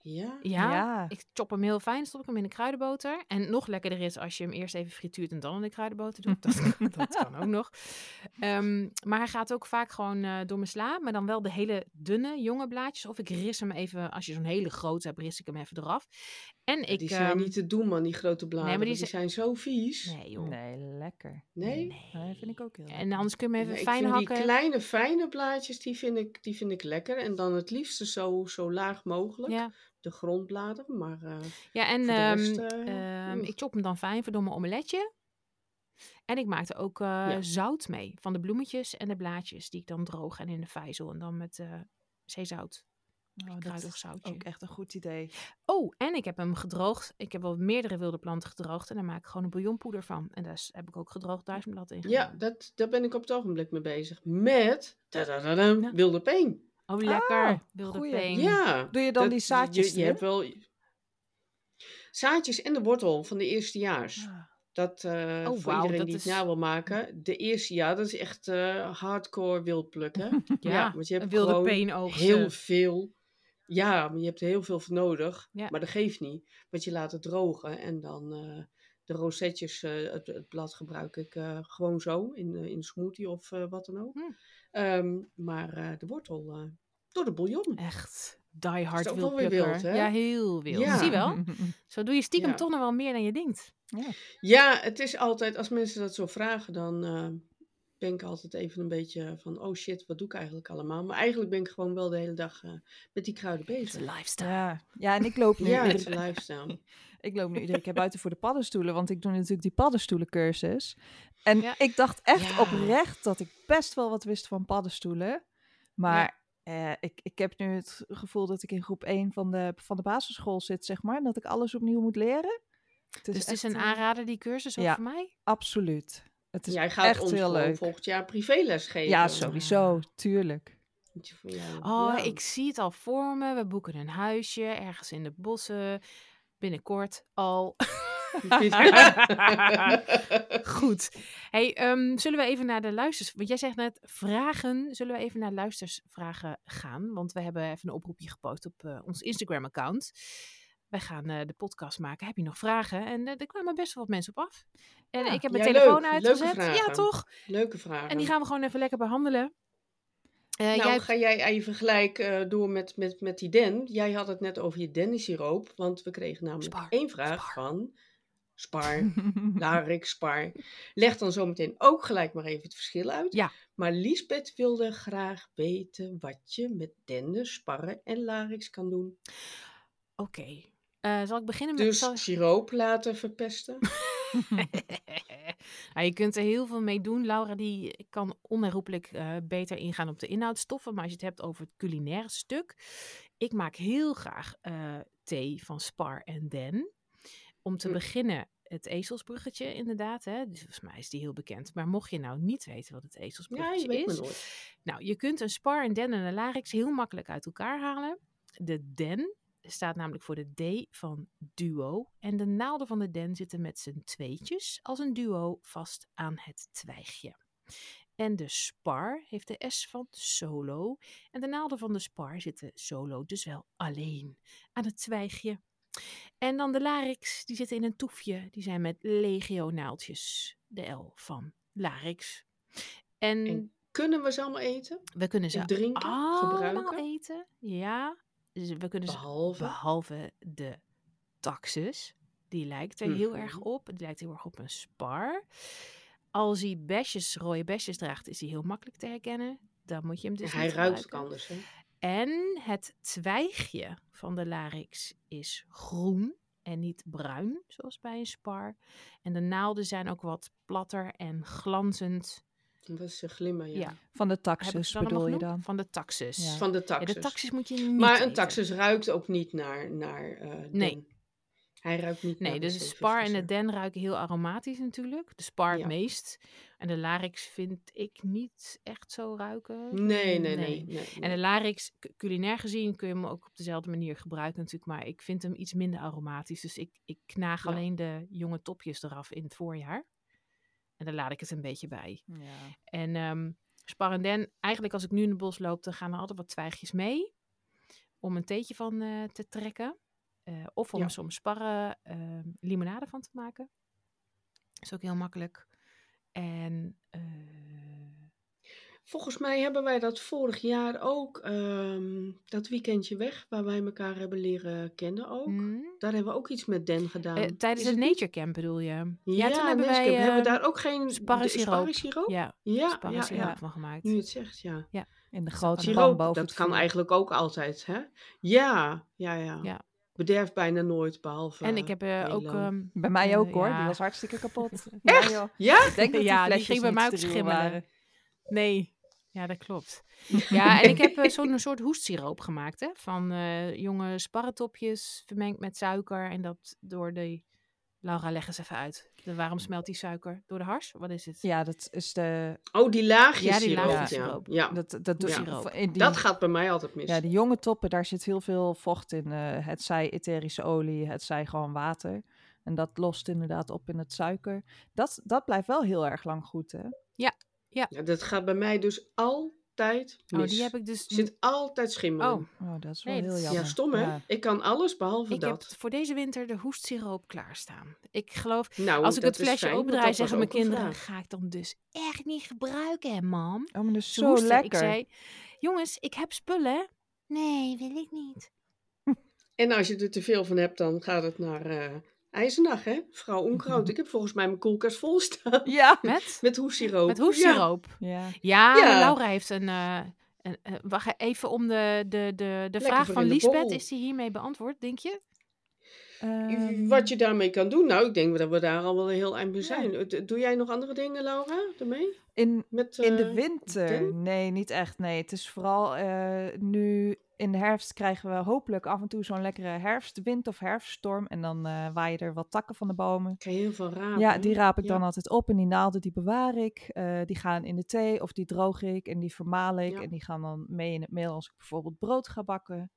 Ja, Ja, Ja. ik chop hem heel fijn, stop ik hem in de kruidenboter. En nog lekkerder is als je hem eerst even frituurt en dan in de kruidenboter doet. Dat, dat kan ook nog. Ehm, maar hij gaat ook vaak gewoon eh, door mijn sla, maar dan wel de hele dunne, jonge blaadjes. Of ik ris hem even, als je zo'n hele grote hebt, ris ik hem even eraf. En ik... die zijn ehm, niet te doen man, die grote bladeren. maar die, die zijn zo vies. Nee joh. Nee, lekker. Nee? Dat vind ik ook heel lekker. oh. En anders kun je hem even Nee, fijn ik vind hakken. Die kleine, fijne blaadjes, die vind ik, die vind ik lekker. En dan het liefste zo, zo laag mogelijk. Ja. De grondbladeren, maar eh, ja, en Voor de ehm, rest, eh, ehm, mm. ik chop hem dan fijn voor door mijn omeletje. En ik maak er ook eh, zout mee. Van de bloemetjes en de blaadjes. Die ik dan droog en in de vijzel. En dan met eh, zeezout. Oh, dat kruidig is zoutje. Ook echt een goed idee. Oh, en ik heb hem gedroogd. Ik heb wel meerdere wilde planten gedroogd. En daar maak ik gewoon een bouillonpoeder van. En daar is- heb ik ook gedroogd duizendblad in ja, gedaan. dat, daar ben ik op het ogenblik mee bezig. Met tadadadam, wilde peen. Oh, lekker. Ah, wilde goeie. peen. Ja. Doe je dan dat- die zaadjes Je, je erin? hebt wel... Zaadjes en de wortel van de eerstejaars. Ja. Dat eh, Oh, voor wauw, iedereen dat die is- het na wil maken. De eerste, ja, dat is echt eh, hardcore wild plukken. Ja, want je hebt wilde gewoon peen oogsten. heel veel. Ja, maar je hebt er heel veel voor nodig. Ja. Maar dat geeft niet. Want je laat het drogen en dan eh, de rosetjes, eh, het, het blad gebruik ik eh, gewoon zo in, eh, in een smoothie of eh, wat dan ook. Hm. Ehm, maar eh, de wortel eh, door de bouillon. Echt die hard ook wel weer wildplukker. wild, hè? Ja, heel wild. Ja. Mhm. Zie wel? Zo doe je stiekem Ja. toch nog wel meer dan je denkt. Ja, het is altijd, als mensen dat zo vragen, dan eh, ben ik altijd even een beetje van, oh shit, wat doe ik eigenlijk allemaal? Maar eigenlijk ben ik gewoon wel de hele dag eh, met die kruiden bezig. lifestyle. Ja. ja, en ik loop, nu Ja, het is iedere, een lifestyle. ik loop nu iedere keer buiten voor de paddenstoelen, want ik doe natuurlijk die paddenstoelencursus. En Ja. ik dacht echt Ja. oprecht dat ik best wel wat wist van paddenstoelen. Maar eh, ik, ik heb nu het gevoel dat ik in groep 1 van de, van de basisschool zit, zeg maar. En dat ik alles opnieuw moet leren. Het Dus het is echt, een eh, aanrader, die cursus ook ja. voor mij? Absoluut. Het is Jij gaat echt ons heel gewoon leuk. volgend jaar privéles geven. Ja, sowieso. Tuurlijk. Ja, Oh, ja. ik zie het al voor me. We boeken een huisje ergens in de bossen. Binnenkort al. Goed. Hey, ehm, zullen we even naar de luisters... Want jij zegt net vragen. Zullen we even naar luistersvragen gaan? Want we hebben even een oproepje gepost op eh, ons Instagram-account. Wij gaan eh, de podcast maken. Heb je nog vragen? En eh, er kwamen best wel wat mensen op af. En Ja. ik heb mijn Ja, telefoon leuk. Leuke uitgezet. Ja, vragen. toch? Leuke vragen. En die gaan we gewoon even lekker behandelen. Eh, nou, jij hebt- ga jij even gelijk eh, door met, met, met die den. Jij had het net over je dennensiroop, want we kregen namelijk Spar, één vraag spar. van Spar, Nou, Larik, Spar. Leg dan zometeen ook gelijk maar even het verschil uit. Ja. Maar Liesbeth wilde graag weten wat je met denden, sparren en larix kan doen. Oké. Eh, zal ik Mhm. beginnen met... Dus zal- siroop laten verpesten. Ja, je kunt er heel veel mee doen. Laura die kan onherroepelijk eh, beter ingaan op de inhoudstoffen. Maar als je het hebt over het culinaire stuk. Ik maak heel graag eh, thee van Spar en Den. Om te Mm. beginnen het ezelsbruggetje inderdaad. Hè? Dus volgens mij is die heel bekend. Maar mocht je nou niet weten wat het ja, ezelsbruggetje je is. weet maar nooit. Nou, je kunt een spar, een den en een larix heel makkelijk uit elkaar halen. De den staat namelijk voor de D van duo. En de naalden van de den zitten met z'n tweetjes als een duo vast aan het twijgje. En de spar heeft de S van solo. En de naalden van de spar zitten solo, dus wel alleen, aan het twijgje. En dan de larix, die zitten in een toefje. Die zijn met legio naaldjes. De L van larix. En, En kunnen we ze allemaal eten? we kunnen ze Of drinken? Ah, allemaal gebruiken? eten. Ja, dus we kunnen ze Behalve. behalve de taxus. Die lijkt er heel erg Mhm. op. Die lijkt heel erg op een spar. Als hij besjes, rode besjes draagt, is hij heel makkelijk te herkennen. Dan moet je hem dus hij niet ruikt ook gebruiken. anders. Hè? En het twijgje van de larix is groen en niet bruin, zoals bij een spar. En de naalden zijn ook wat platter en glanzend. Dat is een glimmer, ja. Ja, Van de Heb ik taxus ze allemaal bedoel je genoemd? dan? Van de taxus. Ja. Van de Ja, taxus. de taxis moet je niet maar een eten. taxus ruikt ook niet naar... naar eh, Nee. den. Hij ruikt niet Nee, naar dus de bezemvers spar en en de zo. den ruiken heel aromatisch natuurlijk. De spar het Ja. meest. En de larix vind ik niet echt zo ruiken. Nee, nee, nee. nee, En de nee. larix, cu- culinair gezien, kun je hem ook op dezelfde manier gebruiken natuurlijk. Maar ik vind hem iets minder aromatisch. Dus ik, ik knaag Ja. alleen de jonge topjes eraf in het voorjaar. En daar laat ik het een beetje bij. Ja. En ehm spar en den, eigenlijk als ik nu in het bos loop, dan gaan er altijd wat twijgjes mee. Om een theetje van eh, te trekken. Eh, of om Ja. soms sparren ehm, limonade van te maken. Is ook heel makkelijk. En eh, Volgens mij hebben wij dat vorig jaar ook, ehm, dat weekendje weg, waar wij elkaar hebben leren kennen ook. mm, Daar hebben we ook iets met Den gedaan. eh, tijdens Is het het niet- nature camp bedoel je? toen hebben Nescamp. wij hebben we ehm, daar ook geen de- sparrensiroop. sparrensiroop? ja, Ja, ja, sparrensiroop ja. van gemaakt. Nu je het zegt, ja. In de grote pan Siroop, boven dat het kan vuur. eigenlijk ook altijd, hè? Ja, ja, ja. Ja. Bederft bijna nooit, behalve... En ik heb eh, ook... Nederland. ehm, Bij mij ook Eh, hoor, ja. die was hartstikke kapot. Echt? Ja, joh. Ja? Ik denk dat die Ja, die flesjes ging bij niet mij ook steriel schimmelen. waren. Nee, ja, dat klopt. Ja, en ik heb eh, zo'n soort hoestsiroop gemaakt, hè. Van eh, jonge sparretopjes vermengd met suiker. En dat door de... Laura, leg eens even uit. De, waarom smelt die suiker? Door de hars? Wat is het? Ja, dat is de... Oh, die laagjes Ja, die siroop, laagjes ja. siroop. Ja, Dat, dat, doet Siroop. of in die, dat gaat bij mij altijd mis. ja, die jonge toppen, daar zit heel veel vocht in. eh, het zij etherische olie, het zij gewoon water. En dat lost inderdaad op in het suiker. Dat, dat blijft wel heel erg lang goed, hè? Ja, dat gaat bij mij dus altijd mis. Oh, die heb ik dus... Er zit altijd schimmel in. Oh, Oh, dat is wel Nee, dat heel is- jammer. Ja, stom hè? Ja. Ik kan alles behalve ik heb dat. voor deze winter de hoestsiroop klaarstaan. Ik geloof, Nou, als ik dat het is flesje fijn, want opendraai, dat was zeggen mijn ook een kinderen... vraag. ga ik dan dus echt niet gebruiken, hè, mam? Oh, maar dat is Ze zo hoesten. Ik lekker. zei, jongens, ik heb spullen. hè?" Nee, wil ik niet. En als je er te veel van hebt, dan gaat het naar eh IJzenach, hè? Vrouw Onkruid. Mhm. Ik heb volgens mij mijn koelkast vol staan. Ja. Met, Met hoessiroop. met Oh, Ja. hoestsiroop. Ja. Ja, Ja. maar Laura heeft een. eh, een eh, wacht even om de, de, de, de vraag voor van in de Liesbeth. borrel. Is die hiermee beantwoord, denk je? Ehm, Wat je daarmee kan doen? Nou, ik denk dat we daar al wel een heel eind mee zijn. Het- Doe jij nog andere dingen, Laura, daarmee? in, Met, In de eh, winter? den? Nee, niet echt. Nee, het is vooral eh, nu in de herfst krijgen we hopelijk af en toe zo'n lekkere herfstwind of herfststorm. En dan eh waaien er wat takken van de bomen. Ik krijg heel veel rapen. Ja, die raap ik Ah, Ja. dan altijd op en die naalden die bewaar ik. Eh, die gaan in de thee of die droog ik en die vermaal ik. Ja. En die gaan dan mee in het meel als ik bijvoorbeeld brood ga bakken.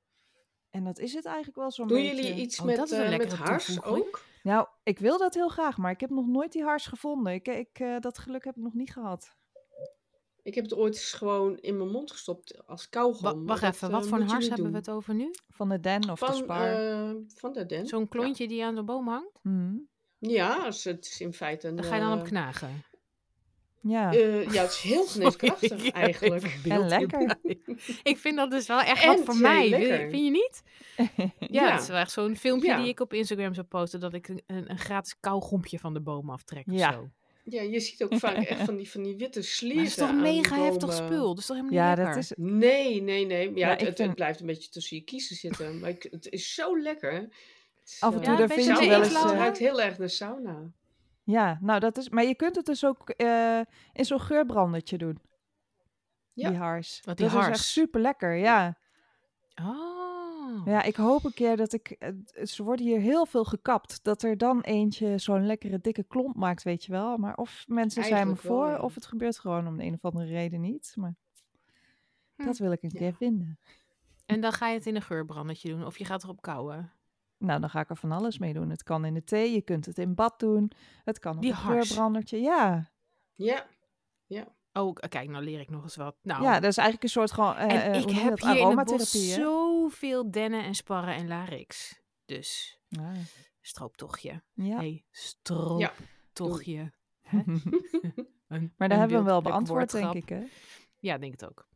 En dat is het eigenlijk wel zo'n Doen beetje. jullie iets Oh, dat met, is een eh, met lekkere hars toevoeging. ook? Nou, ik wil dat heel graag, maar ik heb nog nooit die hars gevonden. Ik, ik, eh, dat geluk heb ik nog niet gehad. Ik heb het ooit eens gewoon in mijn mond gestopt als kauwgom. Wa- maar wacht dat, even, eh, wat voor een moet je hars niet hebben we doen. het over nu? Van de den of de Van, spar. eh, van de den. Zo'n klontje die eh, aan de boom hangt? Mhm. Ja, als dus het is in feite een... Daar ga je dan op eh, knagen. Ja. Eh, ja, het is heel geneeskrachtig Ja, eigenlijk. even beeld En lekker. hierbij. ik vind dat dus wel echt En wat voor twee mij. Vind- lekker. Vind je niet? Ja, Ja. het is wel echt zo'n filmpje Ja. die ik op Instagram zou posten. Dat ik een, een een gratis kauwgompje van de boom aftrek Ja. of zo. Ja, je ziet ook vaak echt van die, van die witte sliezen Maar dat is toch aan die mega heftig bomen. spul? Dat is toch helemaal ja, niet dat lekker? is... Nee, nee, nee. Maar Ja, Ja, het, ik het- vind- het blijft een beetje tussen je kiezen zitten. Maar ik, het is zo lekker. Het is, Af en eh, toe Ja, daar een vind beetje sauna. je wel de eens... inklauwen. Het eh, ruikt heel erg naar sauna. ja, nou dat is... Maar je kunt het dus ook eh, in zo'n geurbrandertje doen. Ja. Die hars. Wat, die dat is echt hars? super lekker, ja. Oh. Ja, ik hoop een keer dat ik... eh, Ze worden hier heel veel gekapt. Dat er dan eentje zo'n lekkere dikke klomp maakt, weet je wel. Maar of mensen Eigenlijk zijn me voor, wel, ja. of het gebeurt gewoon om de een of andere reden niet. Maar Hm. dat wil ik een Ja. keer vinden. En dan ga je het in een geurbrandetje doen of je gaat erop kauwen. Nou, dan ga ik er van alles mee doen. Het kan in de thee, je kunt het in bad doen. Het kan op Die een hars. geurbrandertje. Ja. Ja, Oh, k- kijk, nou leer ik nog eens wat. Nou, ja, dat is eigenlijk een soort gewoon eh, en eh, ik hoe noem je heb dat? hier in het bos aromatherapie. hè? zoveel dennen en sparren en larix. Dus Ja. strooptochtje. Ah, Ja. Nee, strooptochtje. Hè? Een- Maar een daar hebben we hem wel beeldelijk beantwoord, denk woordgrap. ik. Hè? Ja, ik denk het ook.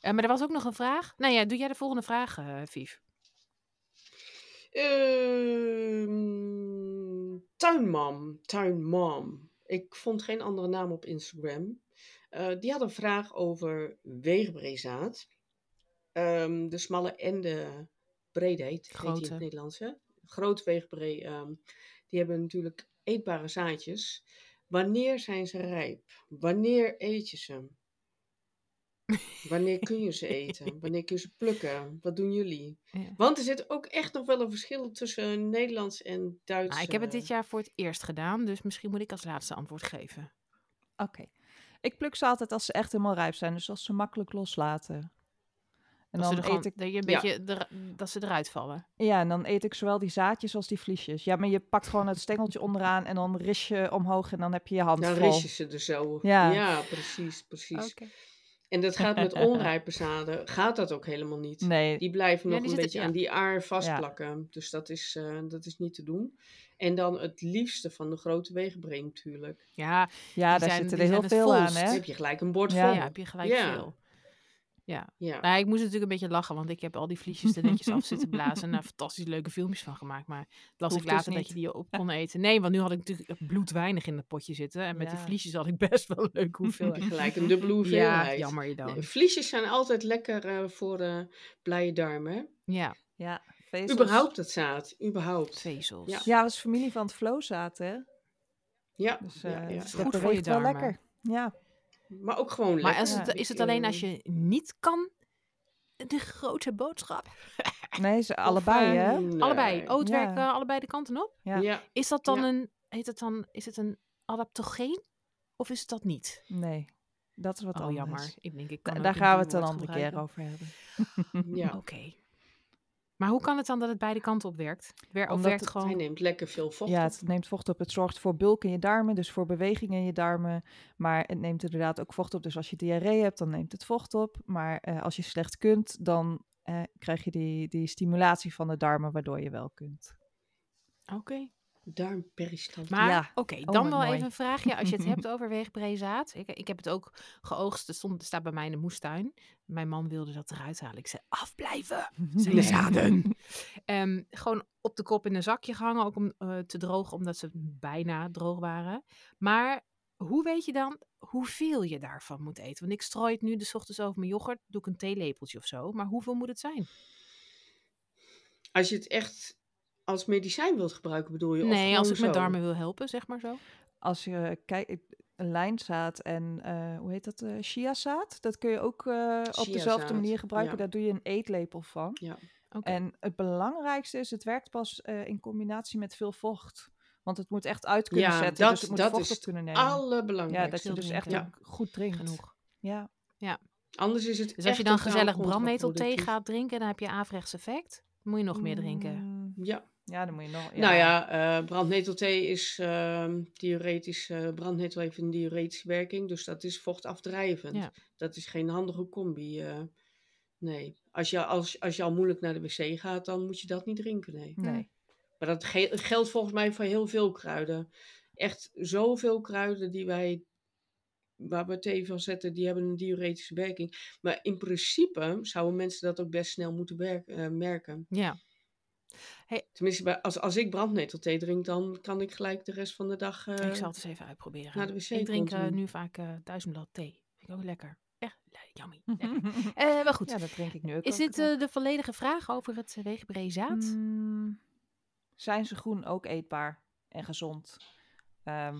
Eh, maar er was ook nog een vraag. Nou ja, doe jij de volgende vraag, eh Vief? Ehm, tuinmam, tuinmam. Ik vond geen andere naam op Instagram. Eh, die had een vraag over weegberezaad. Ehm, de smalle en de brede heet, heet die in Grote. het Nederlands. Hè? Groot weegbree, ehm, die hebben natuurlijk eetbare zaadjes. Wanneer zijn ze rijp? Wanneer eet je ze? Wanneer kun je ze eten? Wanneer kun je ze plukken? Wat doen jullie? Ja. Want er zit ook echt nog wel een verschil tussen Nederlands en Duits. eh, Nou, ik heb het dit jaar voor het eerst gedaan, dus misschien moet ik als laatste antwoord geven. Oké. Ik pluk ze altijd als ze echt helemaal rijp zijn. Dus als ze makkelijk loslaten. En dat ze dan er gewoon, eet ik, dat, je een Ja. beetje er- dat ze eruit vallen. ja, en dan eet ik zowel die zaadjes als die vliesjes. Ja, maar je pakt gewoon het stengeltje onderaan en dan ris je omhoog en dan heb je je hand Dan vol. ris je ze er zo. Ja. Ja, precies, precies. En dat gaat met onrijpe zaden, gaat dat ook helemaal niet. Nee, Die blijven Ja, nog die een zitten- beetje ja. aan die aar vastplakken. Dus dat is, eh, dat is niet te doen. En dan het liefste van de grote wegenbreen natuurlijk. Ja, ja, die daar zijn- zitten er die heel zijn het veel aan, volst. Dan hè? heb je gelijk een bord Ja. vol. ja, Ja. heb je gelijk Ja. veel. Nou, ik moest natuurlijk een beetje lachen, want ik heb al die vliesjes er netjes af zitten blazen en daar fantastisch leuke filmpjes van gemaakt. Maar las Hoeft ik dus later dat niet. je die op kon eten. Nee, want nu had ik natuurlijk bloedweinig in dat potje zitten. En met die Ja. vliesjes had ik best wel een leuke hoeveelheid. Gelijk een dubbele ja, hoeveelheid. jammer je dan. Nee, Vliesjes zijn altijd lekker eh, voor eh blije darmen. hè? Ja, Ja, vezels. Überhaupt het zaad, überhaupt. vezels. Ja. Ja, was familie van het Flozaat, hè? Ja, Dus ja, eh, ja. dat Goed voor je beweegt wel darmen. lekker. Ja, Maar ook gewoon Maar lekker. als Ja. het, is het alleen als je niet kan? De grote boodschap. nee, ze allebei, eh, hè? Nee. Allebei. Oh, het Ja. werkt eh, allebei de kanten op. Ja. Ja. Is dat dan Ja. een, heet het dan, is het een adaptogeen? Of is het dat niet? Nee, dat is wat oh, anders. jammer. Ik denk, ik Da- kan ook daar gaan we het duur een woord andere keer gebruiken. over hebben. ja. Oké. Maar hoe kan het dan dat het beide kanten op werkt? Wer of Omdat werkt het- gewoon... Hij neemt lekker veel vocht. Ja, op. het neemt vocht op. Het zorgt voor bulk in je darmen, dus voor beweging in je darmen. Maar het neemt inderdaad ook vocht op. Dus als je diarree hebt, dan neemt het vocht op. Maar eh, als je slecht kunt, dan eh, krijg je die, die stimulatie van de darmen, waardoor je wel kunt. Oké. Darmperistaltiek. Maar Ja. oké, Oh, dan wat wel mooi. even een vraagje. Als je het hebt over weegbreezaad. Ik, ik heb het ook geoogst. Het stond, staat bij mij in de moestuin. Mijn man wilde dat eruit halen. Ik zei, afblijven. Zijn Nee. zaden. Ehm, gewoon op de kop in een zakje gehangen. Ook om eh, te drogen, omdat ze bijna droog waren. Maar hoe weet je dan hoeveel je daarvan moet eten? Want ik strooi het nu de ochtends over mijn yoghurt. Doe ik een theelepeltje of zo. Maar hoeveel moet het zijn? Als je het echt als medicijn wilt gebruiken, bedoel je? Of nee, als gewoon ik mijn zo? darmen wil helpen, zeg maar zo. als je kijkt, lijnzaad en eh, hoe heet dat? eh chiazaad. Dat kun je ook eh, op Chiazaad, dezelfde manier gebruiken. ja. Daar doe je een eetlepel van. Oké. En het belangrijkste is, het werkt pas eh, in combinatie met veel vocht. Want het moet echt uit kunnen Ja, zetten. dat- dus het moet dat vocht is op kunnen nemen. ja, dat Allerbelangrijkste. veel je dus echt drinken. ook goed drinkt. Genoeg. Ja. Anders is het Dus als je echt dan totaal gezellig brandnetel thee contraproductief. gaat drinken, dan heb je averechts effect. Dan moet je nog meer drinken. Mm, Ja. Ja, dan moet je nog. nou ja, eh brandnetelthee is ehm theoretisch, eh, brandnetel heeft een diuretische werking, dus dat is vochtafdrijvend. Ja. Dat is geen handige combi. eh. nee, als je, als, als je al moeilijk naar de wc gaat, dan moet je dat niet drinken, nee. Nee. Maar dat ge- geldt volgens mij voor heel veel kruiden. Echt zoveel kruiden die wij waar we thee van zetten, die hebben een diuretische werking. Maar in principe zouden mensen dat ook best snel moeten wer- eh, merken. Ja. Tenminste, bij- als, als ik brandnetelthee drink, dan kan ik gelijk de rest van de dag... eh, ik zal het eens even uitproberen. naar de wc ik drink eh, continu. nu vaak eh duizendblad thee. Vind ik ook lekker. Echt le- yummy. lekker. Eh, maar goed, Ja, dat drink ik nu ook. is elke dit dag. eh, de volledige vraag over het uh, weegberezaad? Mm, zijn ze groen ook eetbaar en gezond? Ehm,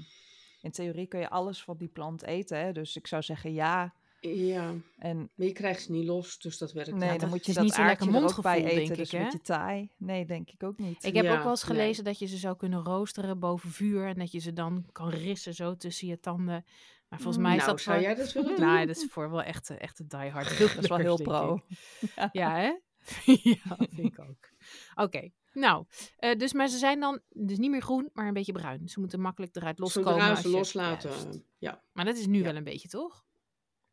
in theorie kun je alles van die plant eten, hè? dus ik zou zeggen ja. Ja, En maar je krijgt ze niet los, dus dat werkt nee, niet. dan dat moet je is dat niet zo'n lekker aardje er ook bij mondgevoel, eten, denk dus ik, een hè? beetje taai. Nee, denk ik ook niet. Ik heb Ja, ook wel eens nee. gelezen dat je ze zou kunnen roosteren boven vuur en dat je ze dan kan rissen zo tussen je tanden. Maar volgens mij is nou, dat zou voor... jij dat willen doen? Nou, dat is voor wel echte, echte diehard. dat is wel heel pro. Ja, hè? ja, vind ik ook. Oké, nou, eh, dus maar ze zijn dan dus niet meer groen, maar een beetje bruin. Ze moeten makkelijk eruit loskomen. Zodra als ze je- loslaten. Juist. Ja. Maar dat is nu wel een beetje, toch?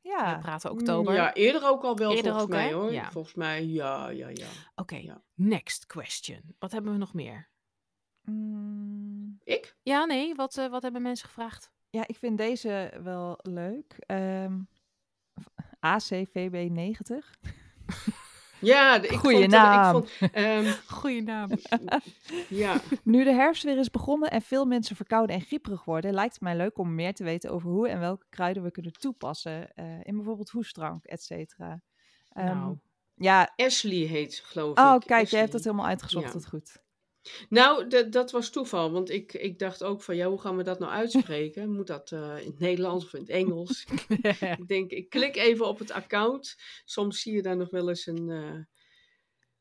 We Ja, praten oktober. Ja, eerder ook al wel Eerder volgens ook, mij hè? hoor. Ja. Volgens mij, ja, ja, ja. Oké, Ja. next question. Wat hebben we nog meer? Mm, Ik? Ja, nee, wat, eh, wat hebben mensen gevraagd? ja ik vind deze wel leuk. Ehm, ACVB90. Ja, de- ik Goeie vond, naam. Ik vond, ehm, Goeie naam. ja, Nu de herfst weer is begonnen en veel mensen verkouden en grieperig worden, lijkt het mij leuk om meer te weten over hoe en welke kruiden we kunnen toepassen eh, in bijvoorbeeld hoestdrank, et cetera. Ehm, Nou. Ja, Ashley heet ze, geloof oh ik. kijk, jij Ashley. hebt dat helemaal uitgezocht, Ja. dat goed. Nou, d- dat was toeval, want ik, ik dacht ook van, ja, hoe gaan we dat nou uitspreken? Moet dat eh, in het Nederlands of in het Engels? Ik denk, ik klik even op het account. Soms zie je daar nog wel eens een, eh,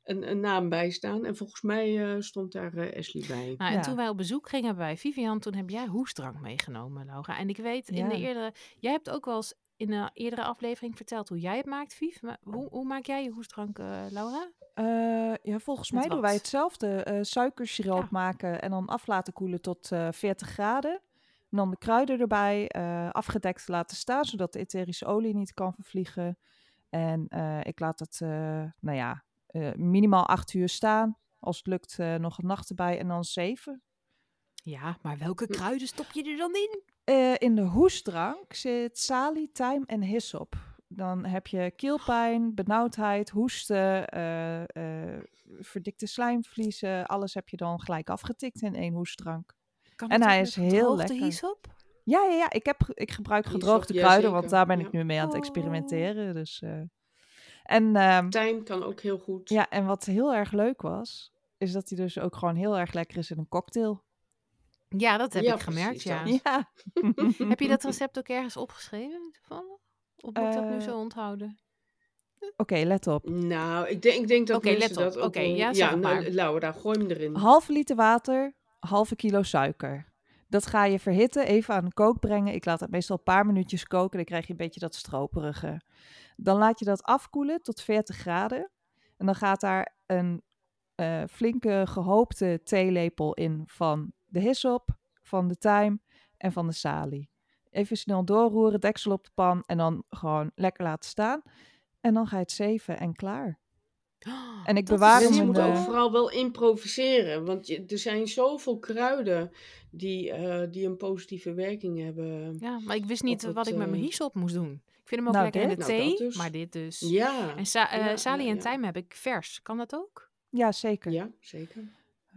een, een naam bij staan. En volgens mij eh, stond daar eh, Ashley bij. Nou, en Ja. toen wij op bezoek gingen bij Vivian, toen heb jij hoestdrank meegenomen, Laura. En ik weet, in Ja. de eerdere, jij hebt ook wel eens in een eerdere aflevering verteld hoe jij het maakt, Viv. Maar hoe, hoe maak jij je hoestdrank, eh, Laura? Eh, ja, volgens Met mij doen wat? wij hetzelfde. Eh suikersiroop Ja. maken en dan af laten koelen tot eh 40 graden. En dan de kruiden erbij eh, afgedekt laten staan, zodat de etherische olie niet kan vervliegen. En eh, ik laat het, eh, nou ja, eh, minimaal 8 uur staan. Als het lukt, eh, nog een nacht erbij en dan 7. Ja, maar welke kruiden stop je er dan in? Eh, in de hoestdrank zit salie, thyme en hyssop. Dan heb je keelpijn, benauwdheid, hoesten, eh, eh, verdikte slijmvliezen. Alles heb je dan gelijk afgetikt in één hoestdrank. Kan En dat hij ook is met heel gedroogde lekker. hyssop? Ja, ja, ja. Ik, heb, ge- ik gebruik Hyssop, gedroogde ja, kruiden, zeker. want daar ben Ja. ik nu mee aan het Oh. experimenteren. Dus, eh. En ehm, Tijn kan ook heel goed. ja, en wat heel erg leuk was, is dat hij dus ook gewoon heel erg lekker is in een cocktail. Ja, dat heb Ja, ik gemerkt, precies ja. dat. Ja. Heb je dat recept ook ergens opgeschreven? toevallig? Of moet ik dat nu Eh, zo onthouden? Oké, let op. Nou, ik denk, ik denk dat Oké, mensen let op. dat ook Oké, wel- ja, zeg het nou, maar. Laura, gooi hem erin. Dus halve liter water, halve kilo suiker. Dat ga je verhitten, even aan de kook brengen. Ik laat het meestal een paar minuutjes koken, dan krijg je een beetje dat stroperige. Dan laat je dat afkoelen tot 40 graden. En dan gaat daar een eh, flinke gehoopte theelepel in van de hyssop, van de thyme en van de salie. Even snel doorroeren, deksel op de pan en dan gewoon lekker laten staan. En dan ga je het zeven en klaar. en Dat ik is dus bewaar heel hem Mensen in moeten de- ook vooral wel improviseren, want je- er zijn zoveel kruiden die, eh, die een positieve werking hebben. Ja, maar ik wist niet Op het, wat ik met mijn eh, hyssop moest doen. Ik vind hem ook Nou, lekker in de dit. Nou, dat thee, dus. maar dit dus. Ja, En sa- eh, Ja, salie ja, en ja. tijm heb ik vers. Kan dat ook? Ja, zeker. ja, zeker.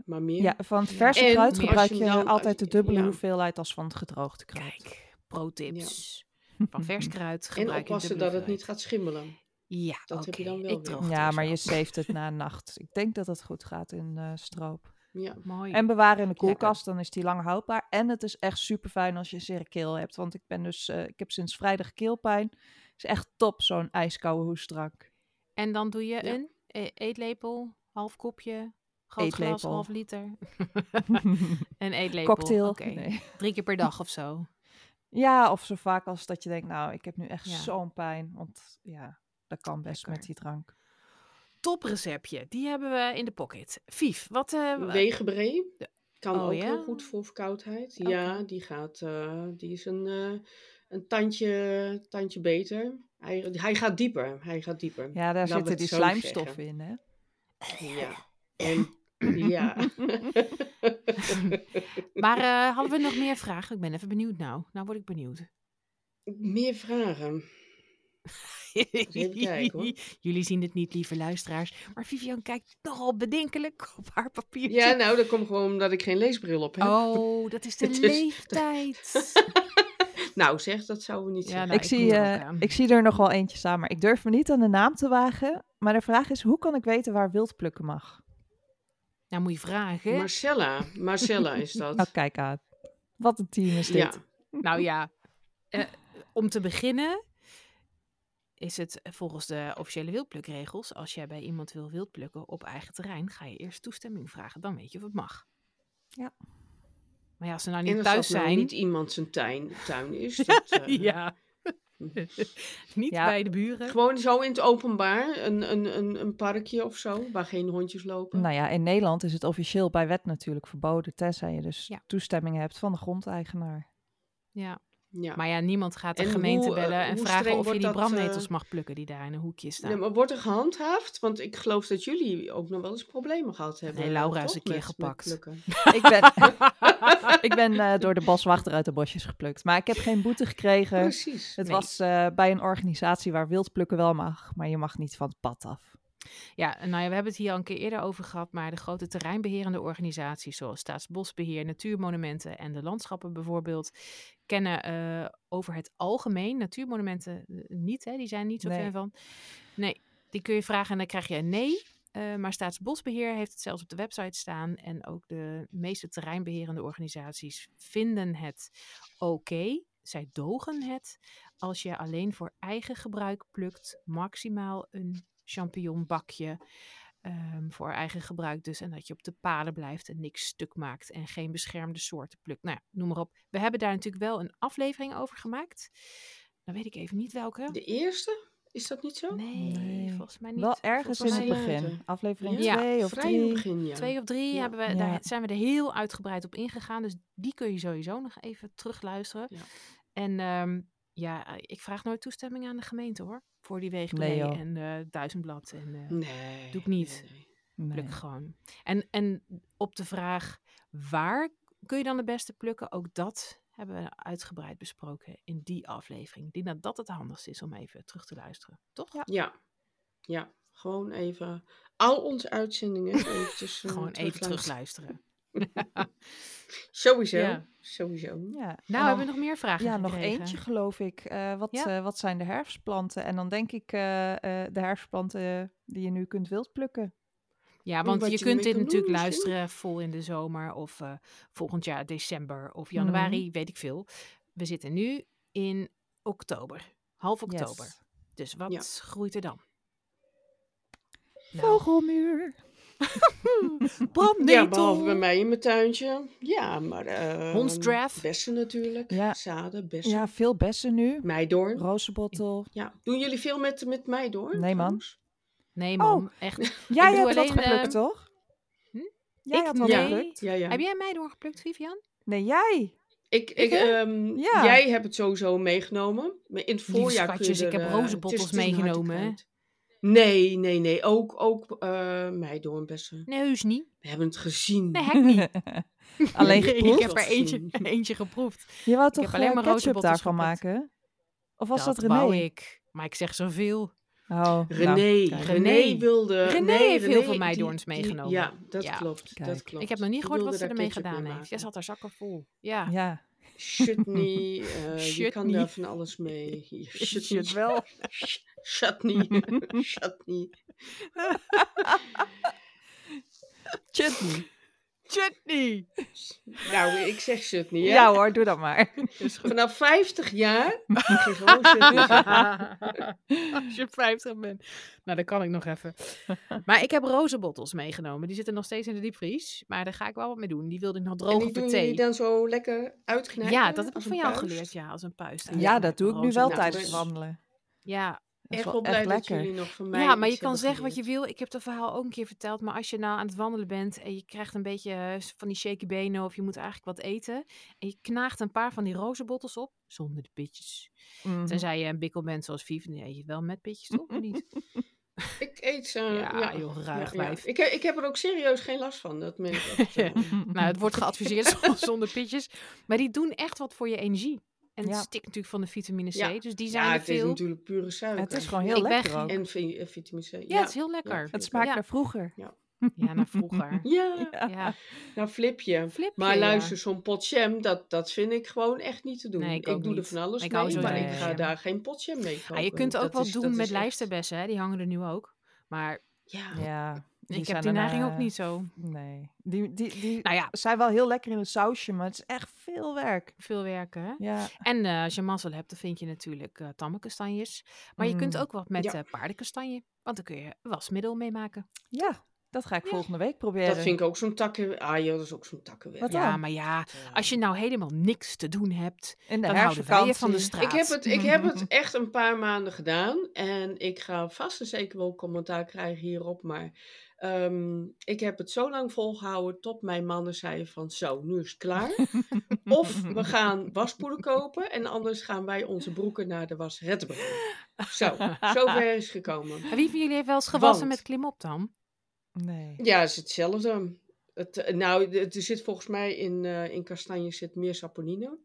Maar meer. Ja, van het verse En kruid als je gebruik hem je dan- altijd de dubbele ja. hoeveelheid als van het gedroogde kruid. Kijk, pro-tips. Van vers kruid en gebruik je oppassen dubbele dat het niet hoeveelheid. gaat schimmelen. Ja, Dat heb je oké, dan wel ik weer. droog Ja, het maar je eerst zeeft het na een nacht. Ik denk dat het goed gaat in eh, stroop. wel. Ja. Mooi. En bewaren in de koelkast, dan is die lang houdbaar. En het is echt super fijn als je zere keel hebt. Want ik ben dus, eh, ik heb sinds vrijdag keelpijn. is echt top, zo'n ijskoude hoestdrank. En dan doe je Ja. een e- eetlepel, half kopje, groot glas, Eetlepel. half liter. een eetlepel. Cocktail. Oké, Nee. drie keer per dag of zo. Ja, of zo vaak als dat je denkt, nou, ik heb nu echt Ja. zo'n pijn. Want ja, dat kan best Lekker. met die drank. Topreceptje, die hebben we in de pocket. Vief, wat... eh, w- Wegenbree kan Oh, ook ja? heel goed voor verkoudheid. Oké. Ja, die, gaat, eh, die is een, eh, een tandje, tandje beter. Hij, hij gaat dieper. Hij gaat dieper. Ja, daar Laten we zitten het die zo slijmstoffen zeggen. in, hè? Ja. En, ja. maar eh, hadden we nog meer vragen? Ik ben even benieuwd nou. Nou word ik benieuwd. Meer vragen. even kijken, hoor. Jullie zien het niet, lieve luisteraars. Maar Vivian kijkt nogal bedenkelijk op haar papiertje. Ja, nou, dat komt gewoon omdat ik geen leesbril op heb. Oh, dat is de Het is- leeftijd. Nou, zeg, dat zouden we niet Ja, zeggen. nou, ik, ik zie, doe er eh, ook aan. ik zie er nog wel eentje staan, maar ik durf me niet aan de naam te wagen. Maar de vraag is, hoe kan ik weten waar wild plukken mag? nou, moet je vragen. Eh, Marcella. Marcella is dat. Nou, kijk aan. Wat een team is dit. ja. Nou ja, eh, om te beginnen is het volgens de officiële wildplukregels. Als jij bij iemand wil wildplukken op eigen terrein, ga je eerst toestemming vragen. Dan weet je of het mag. Ja. Maar ja, als ze nou En niet als dat thuis nou zijn. niet iemand zijn tuin, tuin is. Dat, eh, hm. ja. niet Ja. bij de buren. Gewoon zo in het openbaar, een, een, een, een parkje of zo, waar geen hondjes lopen. Nou ja, in Nederland is het officieel bij wet natuurlijk verboden, tenzij je dus Ja. toestemming hebt van de grondeigenaar. Ja. ja. Maar ja, niemand gaat de En gemeente hoe, eh, bellen en hoe vragen streng of je wordt die dat, eh, brandnetels mag plukken die daar in een hoekje staan. Nee, maar wordt er gehandhaafd? Want ik geloof dat jullie ook nog wel eens problemen gehad hebben. Nee, Laura is toch? een keer Met- met gepakt. plukken. ik ben, ik ben eh, door de boswachter uit de bosjes geplukt, maar ik heb geen boete gekregen. Precies. Het Nee. was eh, bij een organisatie waar wildplukken wel mag, maar je mag niet van het pad af. Ja, nou ja, we hebben het hier al een keer eerder over gehad, maar de grote terreinbeherende organisaties zoals Staatsbosbeheer, Natuurmonumenten en de Landschappen bijvoorbeeld, kennen eh, over het algemeen natuurmonumenten eh, niet, hè? die zijn niet zo Nee. fan van. Nee, die kun je vragen en dan krijg je een nee. Eh, maar Staatsbosbeheer heeft het zelfs op de website staan en ook de meeste terreinbeherende organisaties vinden het oké. Zij dogen het als je alleen voor eigen gebruik plukt, maximaal een champignonbakje ehm, voor eigen gebruik dus. En dat je op de paden blijft en niks stuk maakt en geen beschermde soorten plukt. Nou ja, noem maar op. We hebben daar natuurlijk wel een aflevering over gemaakt. Dan weet ik even niet welke. De eerste? Is dat niet zo? Nee, Nee. volgens mij niet. Wel ergens in Volgens het mij mij begin. later. Aflevering Ja, 2 of Vrij in het 3. begin, ja. Twee of drie Ja. hebben we, Ja. daar zijn we er heel uitgebreid op ingegaan. Dus die kun je sowieso nog even terugluisteren. Ja. En ehm, ja, ik vraag nooit toestemming aan de gemeente hoor. Voor die wegenlee Nee, joh. en eh, Duizendblad en eh, Nee. Doe ik niet. nee, nee. Nee. pluk gewoon. En, en op de vraag waar kun je dan de beste plukken, ook dat hebben we uitgebreid besproken in die aflevering. Ik denk dat dat het handigst is om even terug te luisteren, toch? Ja. Ja. Ja. Gewoon even al onze uitzendingen eventjes, eh, Gewoon even terugluisteren. terugluisteren. Sowieso. Ja. Sowieso. Ja. en Nou, dan- hebben we nog meer vragen ja, nog gekregen? eentje geloof ik. Eh, wat, Ja. eh, wat zijn de herfstplanten? En dan denk ik eh, eh, de herfstplanten die je nu kunt wildplukken. Ja, Wat want je, je kunt ermee dit kan doen natuurlijk misschien? luisteren vol in de zomer of eh, volgend jaar december Mhm. of januari, weet ik veel. We zitten nu in oktober, half oktober. Yes. Dus wat Ja. groeit er dan? Nou, Vogelmuur. brandnetel. Ja, behalve bij mij in mijn tuintje. Ja, maar... eh, Hondsdraaf. Bessen natuurlijk. Ja. Zaden, bessen. Ja, veel bessen nu. Meidoorn. Rozenbottel. Ja. Doen jullie veel met, met meidoorn? Nee, man. trouwens? Nee, Oh. man. Echt. Jij doe hebt wat alleen, geplukt, ehm, toch? hm? Jij ik had wat Ja. geplukt. Ja, ja. Heb jij mij doorgeplukt, Vivian? Nee, jij. Ik, ik, ehm, Ja. Jij hebt het sowieso meegenomen. Maar in het Lieve voorjaar kun schatjes, je ik heb er, eh, rozenbottels het is- het is een harde meegenomen, hè? kwijt. Nee, nee, nee. Ook, ook eh meidoornbessen. Nee, heus niet. We hebben het gezien. Nee, hek niet. Alleen Nee, ik geproefd. heb er eentje, Gezien. eentje geproefd. Je wou heb toch alleen eh, maar ketchup rozenbottels daarvan geplukt. maken? Of was dat, René? wou ik. Maar ik zeg zoveel. Oh, nou, René, kijk. René. René wilde... René nee, heeft heel veel die- meidoorns die- meegenomen. Ja, dat Ja. klopt. Kijk. Dat klopt. Ik heb nog niet Die gehoord wat wilde ze daar ermee ketchup gedaan heeft. Jij maken. zat haar zakken vol. Ja. Ja. Chutney, eh, je kan Chutney. daar van alles mee. Chutney. wel. Ch- Chutney. Chutney. Chutney. Chutney. Nou, ik zeg chutney. Ja. hè? hoor, doe dat maar. Vanaf 50 jaar. mag je gewoon chutney zeggen. Als je 50 bent. Nou, dat kan ik nog even. Maar ik heb rozenbottels meegenomen. Die zitten nog steeds in de diepvries. Maar daar ga ik wel wat mee doen. Die wilde ik nog En drogen die voor doen thee. jullie dan zo lekker uitknijpen? Ja, dat heb ik als van een jou puist? geleerd. Ja, als een puist. Ja, dat doe ik nu wel Nou, tijdens dus- het rozenbottels. wandelen. Ja, Dat Echt is wel wel blij echt dat jullie lekker. nog van mij ja, maar je iets kan hebben zeggen wat je geleerd. wil. Ik heb dat verhaal ook een keer verteld. Maar als je nou aan het wandelen bent en je krijgt een beetje eh, van die shaky benen of je moet eigenlijk wat eten. En je knaagt een paar van die rozenbottels op, zonder de pitjes. Mhm. Tenzij je een bikkel bent zoals Viv, dan eet je wel met pitjes toch? Of niet? Ik eet ze. Ja, Ja, joh, ruig wijf. Ik, he- ik heb er ook serieus geen last van. Dat merk ik echt, eh. Mm-hmm. nou, het wordt geadviseerd zonder pitjes. Maar die doen echt wat voor je energie. En het Ja. stikt natuurlijk van de vitamine C. Ja. Dus die zijn Ja, er het is veel. natuurlijk pure suiker. het is gewoon heel Ik ben lekker geen- ook. En vi- eh, vitamine C. Ja, ja, het is heel lekker. Ja. Het smaakt Ja. naar vroeger. Ja, naar vroeger. Ja, ja. nou flip je. Flip Maar je, ja. luister, zo'n pot jam, dat, dat vind ik gewoon echt niet te doen. Nee, ik ook doe niet. er van alles Ik hou mee, sowieso maar ik niet ga van daar geen pot jam mee kopen. Ah, je kunt ook Dat wat is- dat doen is met echt- lijsterbessen, hè? die hangen er nu ook. Maar Ja, Ja. die ik zijn heb die er, neiging eh, ook niet zo. Nee. Die, die, die Nou ja, zijn wel heel lekker in het sausje, maar het is echt veel werk. veel werken. hè? Ja. En eh, als je mazzel hebt, dan vind je natuurlijk eh tamme kastanjes. Maar je kunt Mm. ook wat met Ja. eh paardenkastanje. Want dan kun je wasmiddel mee maken. Ja, dat ga ik Ja. volgende week proberen. dat vind ik ook zo'n takken... Ah joh, dat is ook zo'n takkenwerk. Wat Ja, dan? maar ja, als je nou helemaal niks te doen hebt, in de dan houden wij je van de herfstvakantie. straat. Ik heb, het, ik heb het echt een paar maanden gedaan. En ik ga vast en zeker wel commentaar krijgen hierop. Maar ehm, ik heb het zo lang volgehouden tot mijn mannen zeiden van zo, nu is het klaar. of we gaan waspoeder kopen en anders gaan wij onze broeken naar de wasretten brengen. Zo, zover is het gekomen. Maar Wie van jullie heeft wel eens gewassen Want- met klimop dan? Nee. Ja, het is hetzelfde. Het, eh, nou, de- er zit volgens mij in, eh in kastanje zit meer saponine.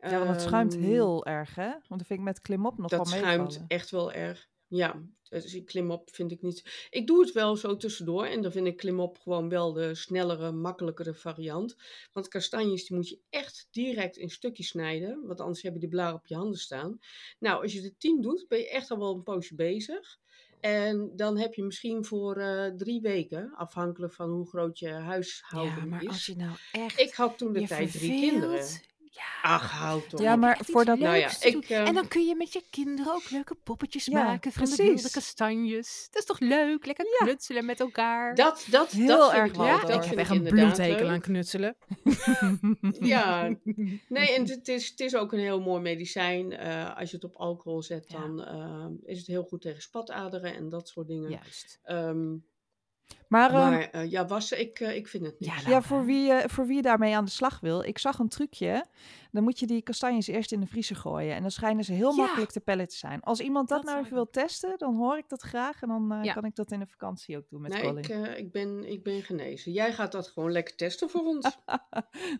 Ja, want het schuimt Ehm, heel erg, hè? Want dat vind ik met klimop nog wel Dat schuimt meevallen. echt wel erg. Ja, dus ik klimop vind ik niet. Ik doe het wel zo tussendoor en dan vind ik klimop gewoon wel de snellere, makkelijkere variant. Want kastanjes die moet je echt direct in stukjes snijden, want anders heb je die blaren op je handen staan. Nou, als je er tien doet, ben je echt al wel een poosje bezig. En dan heb je misschien voor eh, drie weken, afhankelijk van hoe groot je huishouden Ja, maar is. als je nou echt Ik had toen de je tijd drie verveelt, kinderen. Ja. Ach, houd toch. dan Ja, heb je maar echt iets voordat- Nou ja, leuks te doen. ik, eh, En dan kun je met je kinderen ook leuke poppetjes Ja, maken van de precies. wilde kastanjes. Dat is toch leuk? Lekker knutselen met elkaar. Dat, dat, Heel dat vind erg ik wel leuk, door. dat Ik vind heb inderdaad leuk. knutselen. Ja, nee, en het is, het is ook een heel mooi medicijn. Eh, als je het op alcohol zet, Ja. dan ehm, is het heel goed tegen spataderen en dat soort dingen. Juist. Ehm, Maar, ehm, maar eh, ja, wassen, ik, eh, ik vind het niet. Ja, nou, ja, voor wie, eh, voor wie daarmee aan de slag wil, ik zag een trucje. Dan moet je die kastanjes eerst in de vriezer gooien. En dan schijnen ze heel Ja. makkelijk te pellen te zijn. Als iemand dat, Dat nou zou even ik wil testen, dan hoor ik dat graag. En dan eh, Ja. kan ik dat in de vakantie ook doen met nee, Colin. ik, eh, ik, ben, ik ben genezen. Jij gaat dat gewoon lekker testen voor ons. Nou,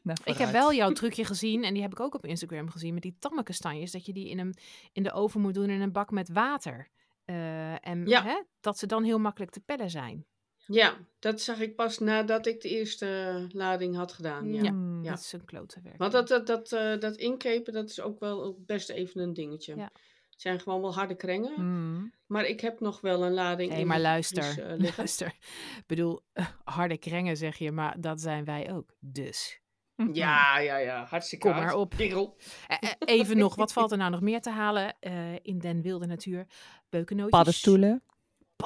Ik heb vooruit. wel jouw trucje gezien en die heb ik ook op Instagram gezien met die tamme kastanjes. Dat je die in, een, in de oven moet doen in een bak met water. Eh, en Ja. hè, dat ze dan heel makkelijk te pellen zijn. ja, dat zag ik pas nadat ik de eerste lading had gedaan. Ja. Mm. Ja. Dat is een klote werk. Want dat, dat, dat, eh, dat inkepen, dat is ook wel best even een dingetje. Ja. Het zijn gewoon wel harde krengen. Mm. Maar ik heb nog wel een lading. Nee, in maar de luister. vries, eh, liggen. luister. Ik bedoel, eh, harde krengen zeg je, maar dat zijn wij ook. Dus. Ja, ja, ja. Hartstikke Kom hard. maar op. Kerel. Eh, eh, even nog, wat valt er nou nog meer te halen eh, in den wilde natuur? Beukennootjes. Paddenstoelen.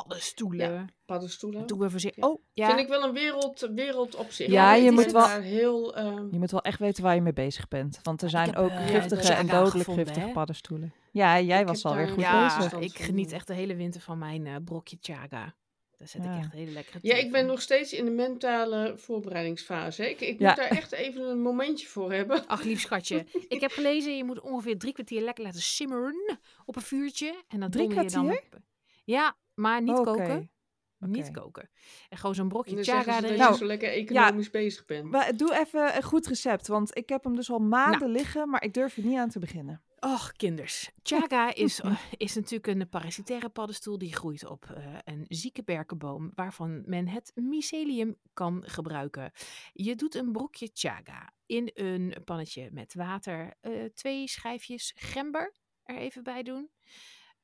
Paddenstoelen. Paddenstoelen. Doen we voorzichtig. Ja. Oh, ja. Vind ik wel een wereld, wereld op zich. Ja, hoor. je Ik moet ben wel- daar heel... ehm, Je moet wel echt weten waar je mee bezig bent. Want er Maar ik zijn heb, ook eh, giftige Jaka en dodelijk gevonden, giftige hè? paddenstoelen. Ja, jij Ik was heb alweer daar- goed ja, bezig. bezig. ik geniet echt de hele winter van mijn eh, brokje chaga. Daar zet Ja. ik echt hele lekkere ja, thee ik ben van. nog steeds in de mentale voorbereidingsfase. Ik, ik Ja. moet daar echt even een momentje voor hebben. Ach, lief schatje. ik heb gelezen, je moet ongeveer drie kwartier lekker laten simmeren op een vuurtje. En dan Drie donder je dan op- Ja, maar niet Oké. koken. Niet Oké. koken. En gewoon zo'n En brokje dan zeggen chaga ze dat erin. je zo lekker economisch bezig bent. Maar doe even een goed recept, want ik heb hem dus al maanden Nou. liggen, maar ik durf er niet aan te beginnen. Och, kinders. Chaga is, eh, is natuurlijk een parasitaire paddenstoel die groeit op eh, een zieke berkenboom waarvan men het mycelium kan gebruiken. Je doet een brokje chaga in een pannetje met water, eh, twee schijfjes gember er even bij doen,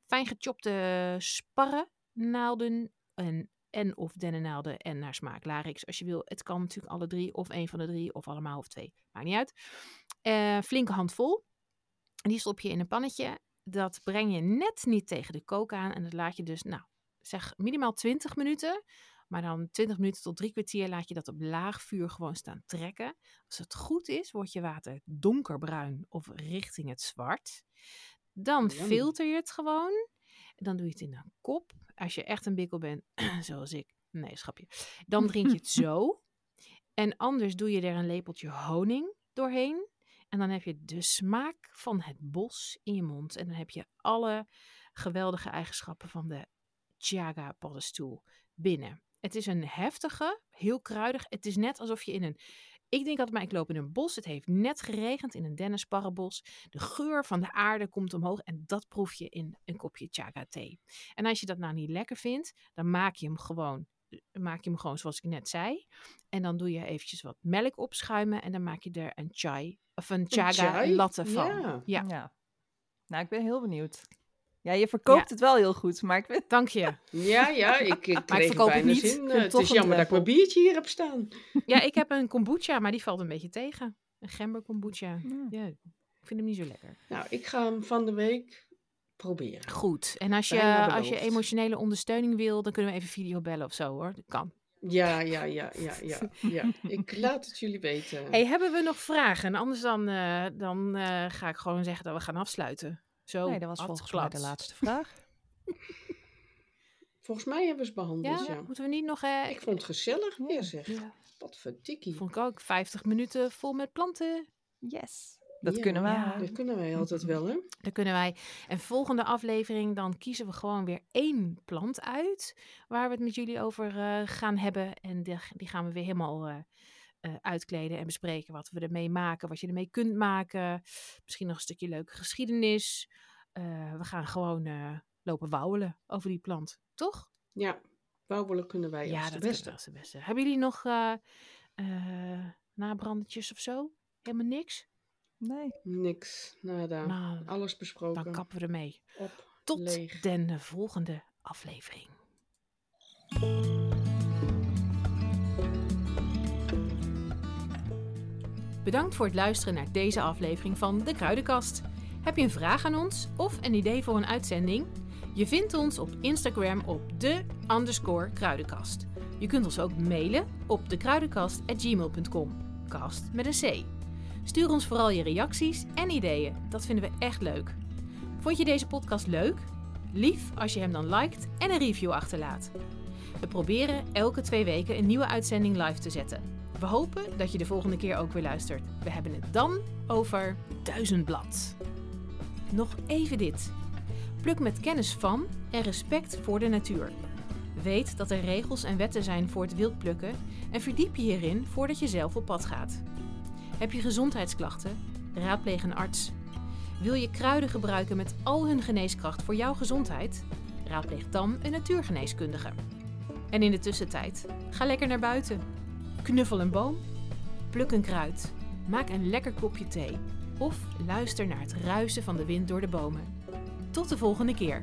fijn gechopte sparren, naalden en, en of dennennaalden en naar smaak larix als je wil. Het kan natuurlijk alle drie of één van de drie of allemaal of twee, maakt niet uit. Eh, flinke handvol. En Die stop je in een pannetje. Dat breng je net niet tegen de kook aan. En dat laat je dus, nou, zeg minimaal 20 minuten. Maar dan 20 minuten tot drie kwartier laat je dat op laag vuur gewoon staan trekken. Als het goed is, wordt je water donkerbruin of richting het zwart. Dan Yum. filter je het gewoon. En dan doe je het in een kop. Als je echt een bikkel bent, zoals ik. Nee, schapje. Dan drink je het zo. En anders doe je er een lepeltje honing doorheen. En dan heb je de smaak van het bos in je mond. En dan heb je alle geweldige eigenschappen van de chaga paddenstoel binnen. Het is een heftige, heel kruidig. Het is net alsof je in een Ik denk altijd maar, ik loop in een bos. Het heeft net geregend in een dennensparrenbos. De geur van de aarde komt omhoog en dat proef je in een kopje chaga thee. En als je dat nou niet lekker vindt, dan maak je hem gewoon, maak je hem gewoon zoals ik net zei. En dan doe je eventjes wat melk opschuimen en dan maak je er een chai of een chaga chai? latte van. Ja. ja. Nou, ik ben heel benieuwd. Ja, je verkoopt het wel heel goed, maar ik ben... Dank je. Ja, ja, ik, ik kreeg er verkoop het bijna niet. zin. Ik vind eh, het het toch is een jammer dat ik mijn drempel. biertje hier heb staan. Ja, ik heb een kombucha, maar die valt een beetje tegen. Een gember kombucha. Ja, ik vind hem niet zo lekker. Nou, ik ga hem van de week proberen. Goed. En als Bijna je, als je beloofd. emotionele ondersteuning wil, dan kunnen we even videobellen of zo hoor. Dat kan. Ja, ja, ja, ja, ja. ja. Ik laat het jullie weten. Hey, hebben we nog vragen? Anders dan, eh, dan eh, ga ik gewoon zeggen dat we gaan afsluiten. Zo, nee, dat was volgens mij afgeklad. de laatste vraag. Volgens mij hebben ze Dus, behandeld, Ja, ja. moeten we niet nog... eh, Ik vond het gezellig weer, zeg. Ja. Wat verdikkie. vond ik ook 50 minuten vol met planten. Yes. Dat Ja. Dus- kunnen we. Ja. halen. Dat kunnen wij altijd wel, hè? Dan kunnen wij. En volgende aflevering, dan kiezen we gewoon weer één plant uit. Waar we het met jullie over eh, gaan hebben. En die, die gaan we weer helemaal eh, eh, uitkleden en bespreken. Wat we ermee maken, wat je ermee kunt maken. Misschien nog een stukje leuke geschiedenis. Eh, we gaan gewoon eh, lopen wauwelen over die plant. Toch? Ja, bouwbelen kunnen wij als de kunnen we beste. als de beste. Hebben jullie nog eh eh, nabrandetjes of zo? Helemaal niks? Nee. Niks, nada. Nou, Alles dan besproken. kappen we ermee. Op. Tot Leeg. de volgende aflevering. Bedankt voor het luisteren naar deze aflevering van De Kruidenkast. Heb je een vraag aan ons of een idee voor een uitzending? Je vindt ons op Instagram op de underscore kruidenkast. Je kunt ons ook mailen op dekruidenkast.gmail.com. Kast met een C. Stuur ons vooral je reacties en ideeën. Dat vinden we echt leuk. Vond je deze podcast leuk? Lief als je hem dan liked en een review achterlaat. We proberen elke twee weken een nieuwe uitzending live te zetten. We hopen dat je de volgende keer ook weer luistert. We hebben het dan over Duizendblad. Nog even dit. Pluk met kennis van en respect voor de natuur. Weet dat er regels en wetten zijn voor het wildplukken en verdiep je hierin voordat je zelf op pad gaat. Heb je gezondheidsklachten? Raadpleeg een arts. Wil je kruiden gebruiken met al hun geneeskracht voor jouw gezondheid? Raadpleeg dan een natuurgeneeskundige. En in de tussentijd, ga lekker naar buiten. Knuffel een boom, pluk een kruid, maak een lekker kopje thee of luister naar het ruisen van de wind door de bomen. Tot de volgende keer.